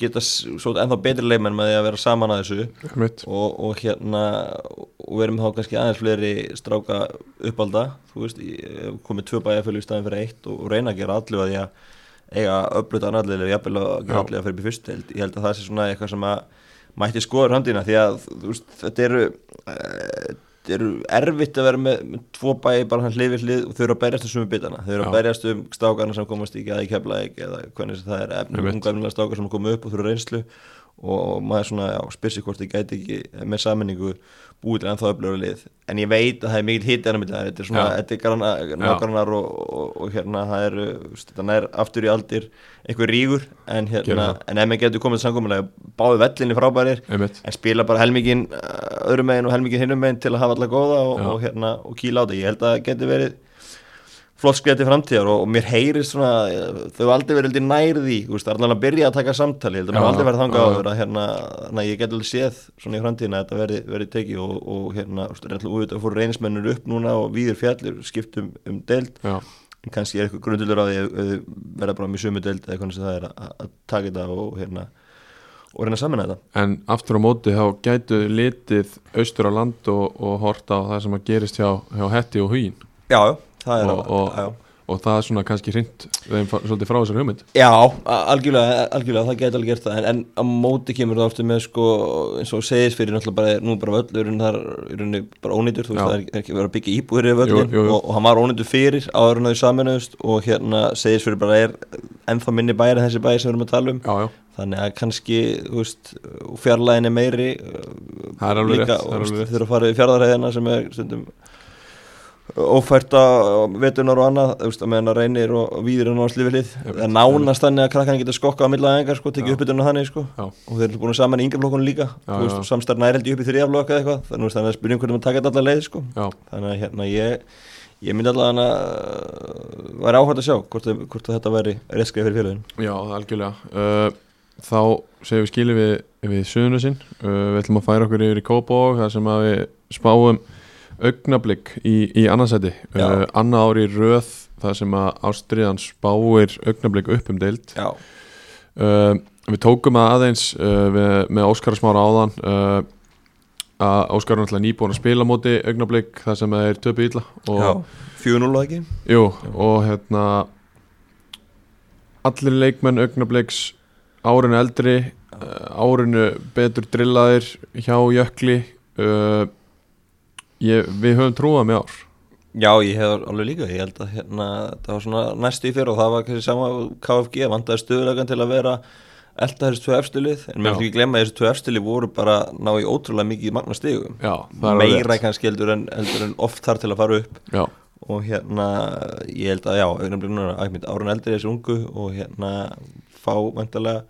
geta s- svo ennþá betri leikmenn með því að vera saman að þessu
einmitt.
og, og hérna og við erum þá kannski aðeins fleiri stráka uppalda, þú veist í- eh, komið tvö bæjarfjölu í staðin fyrir eitt og, og reyna að gera allu að því að eiga öflut annarlega og jafnvel að
Já.
gera allu að fyrir fyrst held, ég held að það sé svona eitthvað sem að mætti skoður handina því að þú veist, þetta eru eh, þetta eru erfitt að vera með, með tvo bæi bara hann hlið við hlið og þau eru að berjast um sumu bitana þau eru að
Já.
berjast um stákarna sem komast ekki að í keflaðik eða hvernig sem það er efni,
Einmitt.
ungafnilega stákar sem koma upp og þau eru reynslu og maður svona já, spyr sig hvort þið gæti ekki með sammenningu búið til ennþá öflöru lið en ég veit að það er mikil hitt ennum þetta þetta er svona,
Já.
þetta er grana- nágrannar og, og, og hérna það er þetta nær aftur í aldir einhver rígur en hérna,
Gerðu það.
en ef maður getur komið til samkomulega báði vellinni frábærir
einmitt,
en spila bara helmingin uh, öðrum megin og helmingin hinnum megin til að hafa alla góða og,
Já.
og, hérna, og kýla á þetta ég held að það geti verið flott skriða til framtíðar og, og mér heyrist svona eh, þau hafa aldrei verið heldur nærði það er alveg að byrja að taka samtali ég held að
Já,
maður aldrei verið
já, já.
þangað áður að hérna, þannig að ég get alveg séð svona í framtíðina að þetta verði, verði tekið og, og hérna, þú veist, er alltaf út að fóru reynismennur upp núna og viður fjallir skiptum um deild
já,
en kannski er eitthvað grundullur á því að að þau verða bara mjög sömu deild eða hvernig sem það er að, að taka þetta og hérna og reyna saman þetta
en aftur á móti þá gætu litið austur á land og, og horta á það sem að gerist hjá, hjá hetti og hugin
Já, já, það er
og, og,
já, já.
og það er svona kannski hrind þeim fa- svolítið frá þessar hugmynd
Já, a- algjörlega, algjörlega, það gæti alveg gert það en, en á móti kemur það ofta með sko, eins og segist fyrir náttúrulega bara, nú er bara völlurinn þar í rauninni bara ónýtur þú
Já.
veist, það er, er ekki verið að byggja íbúður í
Jú,
völlin
jú, jú.
Og, og hann var ónýtur fyrir áður en þau saminuðust og hérna segist fyrir bara er ennþá minni bæri en þessi bæri sem við erum að tala um
já, já,
þannig að kannski, þú veist, fjarlæðin er meiri
Það er alveg rétt, það er
og
alveg rétt.
þurfa að fara í fjardarhæðina sem er stundum ófært á vetunar og annað, þú veist, að meðan að reynir og og víðir er nánast lífið hlið,
Ég veit,
það er nánast þannig að krakkan geta skokkað á milla aðingar, sko, tekið uppbytunum þannig, sko
Já.
og þeir eru búin saman í yngra flokkunum líka
Já,
þú veist,
já.
og samstarf næreldi upp í þriðaflokka eða eitthvað þannig þú veist, þannig að spyrjum hvernig maður taka þetta allar leið, sko
já,
þannig að hérna ég ég myndi allavega að væri áhægt að sjá hvort, hvort að þetta væri reskið fyrir félagin
já, algjörlega uh, þá segjum við skilið við, við suðunusinn, uh, við ætlum að færa okkur yfir í Kópavog, þar sem að við spáum augnablík í, í annarsæti, uh,
Já.
anna ári röð þar sem að ástriðan spáir augnablík upp um deild
Já,
uh, við tókum að aðeins uh, við, með Óskar smára áðan uh, að Óskar er náttúrulega nýbúin að spila á móti augnablík þar sem að þeir töpu illa og
Já. 4-0 og ekki
Jú, og hérna allir leikmenn augnabliks árinu eldri uh, árinu betur drillaðir hjá Jökli uh, ég, við höfum trúað með ár
Já, ég hef alveg líka, ég held að hérna, það var svona næstu í fyrir og það var kannski sama og KFG, vandaði stöðulegan til að vera elda þessi tvö efstilið, en mér
Já.
fyrir ekki glemma að þessi tvö efstilið voru bara ná í ótrúlega mikið magna stigum,
Já, það er alveg
meira
rétt.
kannski heldur en, heldur en oft þar til að fara upp
Já,
og hérna, ég held að já, augnablik núna, ætmitt, árun eldri þessi ungu og hérna fá vandalega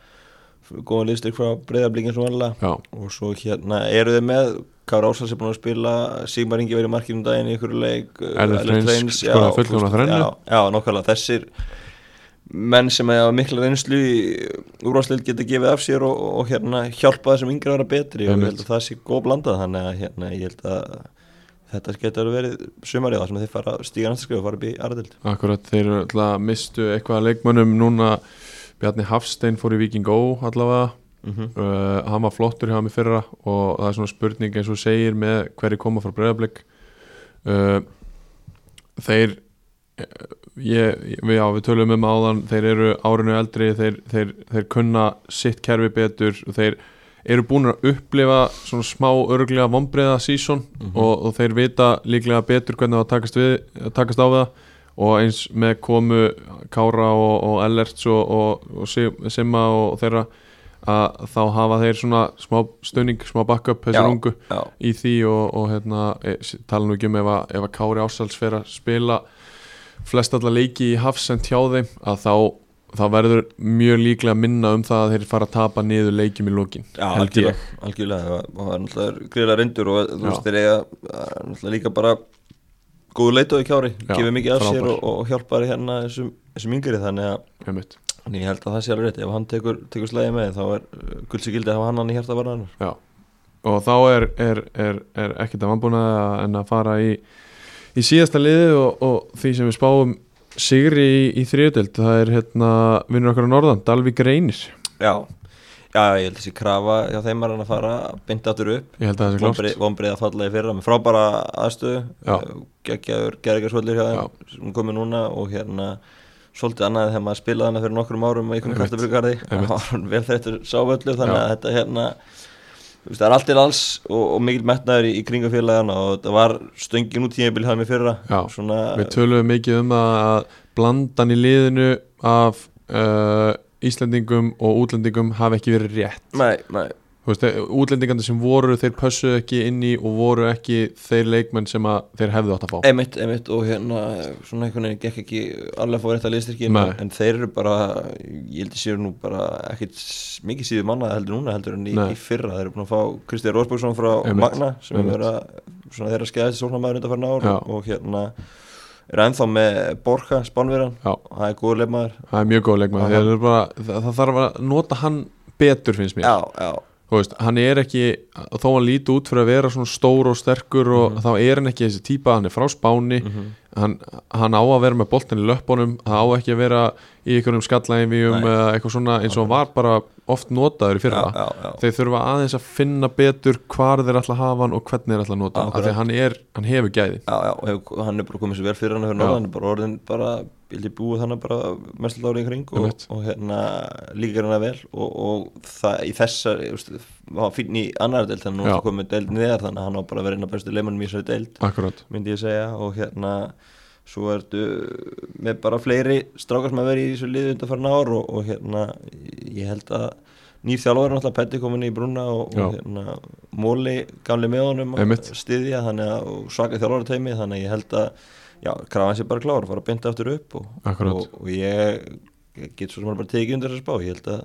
góðan liðstyrk frá breyðablikin svo vanlega
já,
og svo hérna eru þið með Kára Ásal sem er búin að spila Sigmar Ingi verið í markinu um daginn í ykkur leik uh,
Elliot
Elliot
Hreins
Hreins, já,
skoraði fullkomna
þú veist,
þrennu.
já, já, nokkvæmlega þessir menn sem hefur mikla reynslu úrvarsleil geta gefið af sér og, og hérna hjálpa þessum yngri að vera betri og ég
Einmitt.
held að það sé góð blandað þannig að hérna ég held að þetta getur verið sumarið það sem þið fara að stíga næsta skrifu og fara upp í aðradöld
akkurat þeir alltaf mistu eitthvað af leikmönnum núna Bjarni Hafstein fór í Viking Ó allavega
Mhm.
uh, hann var flottur hjá mig fyrra og það er svona spurning eins og þú segir með hverju koma frá breyðablik uh, þeir eh, ég, við, já, við tölum um áðan þeir eru árinu eldri þeir, þeir, þeir kunna sitt kerfi betur þeir eru búin að upplifa svona smá örglega vombriða sísón og, og þeir vita líklega betur hvernig það takast, við, takast á við það og eins með komu Kára og, og Ellerts og, og, og Sim- Simma og þeirra að þá hafa þeir svona smá stöning, smá backup þessar ungu
já,
í því og, og hérna, e, s- tala nú ekki um ef að, ef að Kári Ársals fer að spila flest alla leiki í hafsend hjá þeim að þá, þá verður mjög líklega minna um það að þeir fara að tapa niður leikjum í lókin
já algjörlega, algjörlega það var- það var náttúrulega greiðlega reyndur og þú
Já.
veist þeir eiga það er náttúrulega líka bara góðu leitói kjári,
Já,
gefið mikið af sér
frábær.
og, og hjálpar hérna þessum, þessum yngri þannig að
einmitt.
En ég held að það sé alveg rétt, ef hann tekur, tekur slæði með þá er guldsig gildi að hafa hann hann í hjarta bara annar
Já. og þá er, er, er, er ekkert að vannbúna en að fara í, í síðasta liði og, og því sem við spáum sigri í, í þriðutöld það er hérna vinnur okkar á norðan Dalvík Reynir
Já, já, ég held að þessi krafa hjá þeim er hann að fara, binda áttur upp
ég held að það sé klárt
Vombrið að falla í fyrra með frábæra
Já.
aðstöðu eh, geggjaður gerðingarsvöldur hjá þeim sem komið núna og hérna svolítið annað en þegar maður spilaði hana fyrir nokkrum árum í einhvern kartabrugarði það var hann vel þrættur sávöldu þannig að þetta hérna þú veist, það er allt til alls og, og mikil metnaður í, í kringum félagana og þetta var stöngin út tímabil hjá þeim í fyrra
Já,
svona,
Við töluðum mikið um að að blandan í liðinu af uh, Íslendingum og útlendingum hafi ekki verið rétt
Nei, nei,
Þú veist, þeir- Útlendingarnir sem voru, þeir pössuðu ekki inn í og voru ekki þeir leikmenn sem að þeir hefðu átt að fá
einmitt, einmitt og hérna svona einhvern veginn gekk ekki alveg að fá rétt að liðstyrkjum
Nei.
en þeir eru bara, ég held að séu nú bara ekkit s- mikið síðu manna heldur núna heldur en í,
Nei.
í fyrra, þeir eru búin að fá Kristið Rósbergsson frá
Einmitt,
Magna sem
einmitt.
er verið að, svona þeirra skæðast sólnamaður undan farin ár
Já.
og, og hérna er ennþá með Borja, Spánverjan
Já.
og það er góður leifmaður
Það er mjög góð leikmenn, þeir eru bara, það, það þarf að nota hann betur finnst mér
Já, já,
Þú veist, Hann er ekki, þó hann líti út fyrir að vera svona stór og sterkur og
Mhm.
þá er hann ekki þessi típa, hann er frá Spáni hann, hann á að vera með boltin í löppunum það á ekki að vera í einhverjum skallægjum
Nei.
eða eitthvað svona eins og hann var bara oft notaður í fyrra
Já, já, já.
þeir þurfa aðeins að finna betur hvar þeir ætla að hafa hann og hvernig þeir ætla að nota hann af
Akkurat.
því að hann, er, hann hefur gæði
já, já, og hef, hann er bara komið sér vel fyrir hann fyrir norðan, hann er bara orðin bara bildi búið þannig bara mestallt árið í kring og,
Einmitt.
og hérna líkar hann að vel og, og það í þessar ég veist, var fín í annar deild þannig að
Já.
hann komið deild neðar þannig að hann á bara að vera einn af bestu leimannum í þessari deild
Akkurat,
myndi ég segja og hérna svo ertu með bara fleiri strákar sem að vera í þessu liðu undan farin ár og, og hérna ég held að nýr þjálfur er náttúrulega Petti komin í brúna og,
Já.
og hérna Móli gamli með honum að
Einmitt.
styðja þannig að og svaka þjálfur teimi þannig að ég held að já, krafan sé bara klára, fara að binda aftur upp og,
Akkurat.
og, og ég ég get svo sem bara tekið undir þess að spá ég held að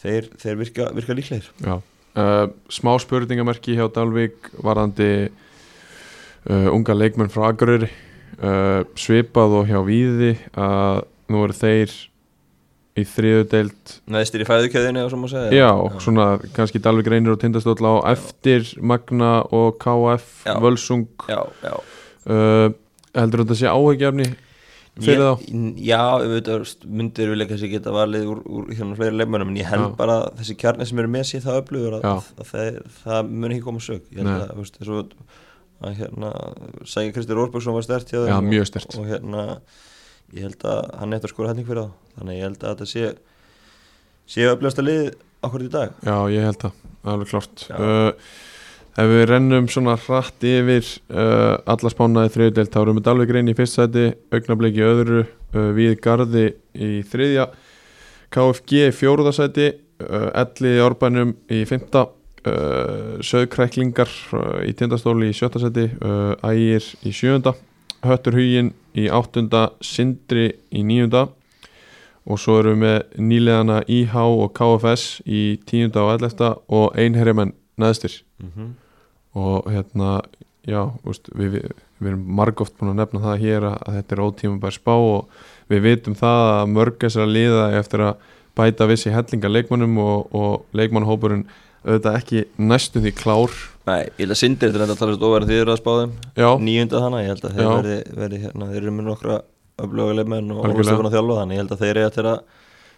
þeir, þeir virka, virka líklegir
já uh, Smá spurningamerki hjá Dalvik varðandi uh, unga leikmenn frá Akureyri uh, svipað og hjá Víði að nú eru þeir í þriðu deild
neðstir í fæðukjöðinu og svo má segja
Já, svona kannski Dalvik Reynir og Tindastóll á eftir Magna og KF
Já.
Völsung
já, já
uh, heldur þetta sé áheggjafni fyrir
ég, Já, auðvitað veist, myndir við leika sig geta valið úr, úr hérna fleiri leikmönnum en ég held
Já.
bara að þessi kjarni sem eru með sér það öflugur að,
Já.
að, að það, það mun ekki koma sög ég held
Nei.
að, þú veist, þess að, að hérna, Sækja Kristi Rósbergsson var stert hjá
Já,
og-
mjög sterkt.
og hérna, ég held að hann eftir að skora helling fyrir það þannig að ég held að þetta sé sé öflugasta lið okkur í dag
þá Já, ég held það, alveg klart
Já.
uh, Ef við rennum svona hratt yfir uh, alla spánaði þriðudelt þá erum við Dalvik Reynir í fyrst sæti augnabliki öðru, uh, við Garði í þriðja KFG í fjóruða sæti uh, Elli í Árbænum í fymta uh, Söðkræklingar uh, í tindastóli í sjötta sæti uh, Ægir í sjöunda Höttur Hugin í áttunda Sindri í níunda og svo erum við með nýlegana IH og KFS í tíunda og ellefta og einherjamenn neðstir
mm
Mhm.
-hmm.
og hérna, já, úst, við, við, við erum margóft búin að nefna það hér að, að þetta er ótímabær spá og við vitum það að mörg þessara liða eiga eftir að bæta vissi hellinga leikmannum og, og leikmannhópurinn auðvitað ekki næstu því klár
Nei, ég held að Sindri þetta er enda að tala svo ofar en þið eru að spá þeim
Já,
nýjunda þannig, ég held að þeir
Já.
verði, verði hérna, þeir eru með nokkra öflugulegmenn og
Algjörlega.
orðstöfun að þjálfa þannig, ég held að þeir eru eftir að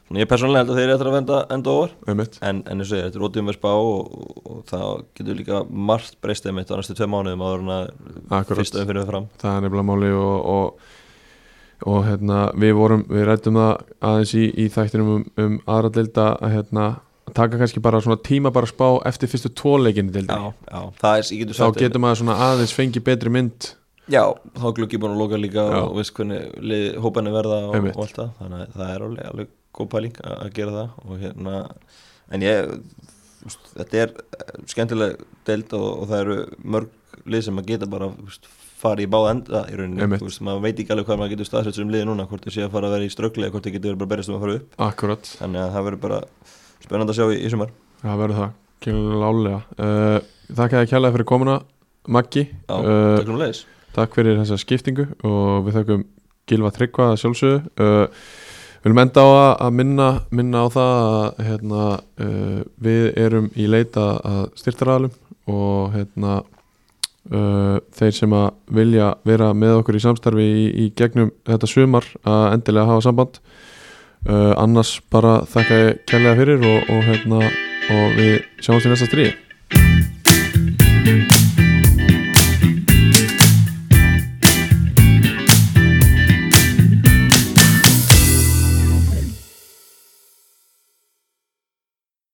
Þannig ég persónulega held að þeir eru eftir að venda enda ofar
einmitt
en, en eins og ég, þetta er rótum við spá og, og, og það getur líka margt breyst einmitt á næstu tvei mánuðum áður en að
Akkurat.
fyrsta umfyrir fram
það er nefnilega máli og, og, og hérna, við vorum við rættum það aðeins í, í þættinum um, um aðra delda að hérna, taka kannski bara svona tíma bara spá eftir fyrstu tvoleikinni delda
Já, já, það er, ég getur
þá
sagt
getur maður svona aðeins fengið betri mynd
Já, þá er gluggi búin að loka líka
Já.
og veist hvernig lið, hópanir verða og,
Einmitt.
og allt það þannig að það er alveg, alveg góð pæling að að gera það og hérna, en ég þú veist, þetta er eh, skemmtileg deild og, og það eru mörg lið sem að geta bara þú veist, farið í báða enda í rauninni,
Einmitt.
þú veist, maður veit ekki alveg hvað maður getur staðsett sem liði núna, hvort þau sé að fara að vera í ströggli eða hvort þau getur verið bara að berjast um að fara upp
akkurat,
þannig að það verður bara spennandi að sjá í, í sumar
það verður það klálega uh, þakka þér kjærlega fyrir komuna Maggi
Já,
Eh,
takk um leiðis
Takk fyrir þessa skiptingu og við þakkum Gilva Tryggva að sjálfsögðu uh, Við viljum enda á að að minna, minna á það að hérna, uh, við erum í leita að styrtaraðalum og hérna, uh, þeir sem að vilja vera með okkur í samstarfi í, í gegnum þetta sumar að endilega hafa samband uh, annars bara þakka ég kærlega fyrir og, og, hérna, og við sjáumst í næsta stríði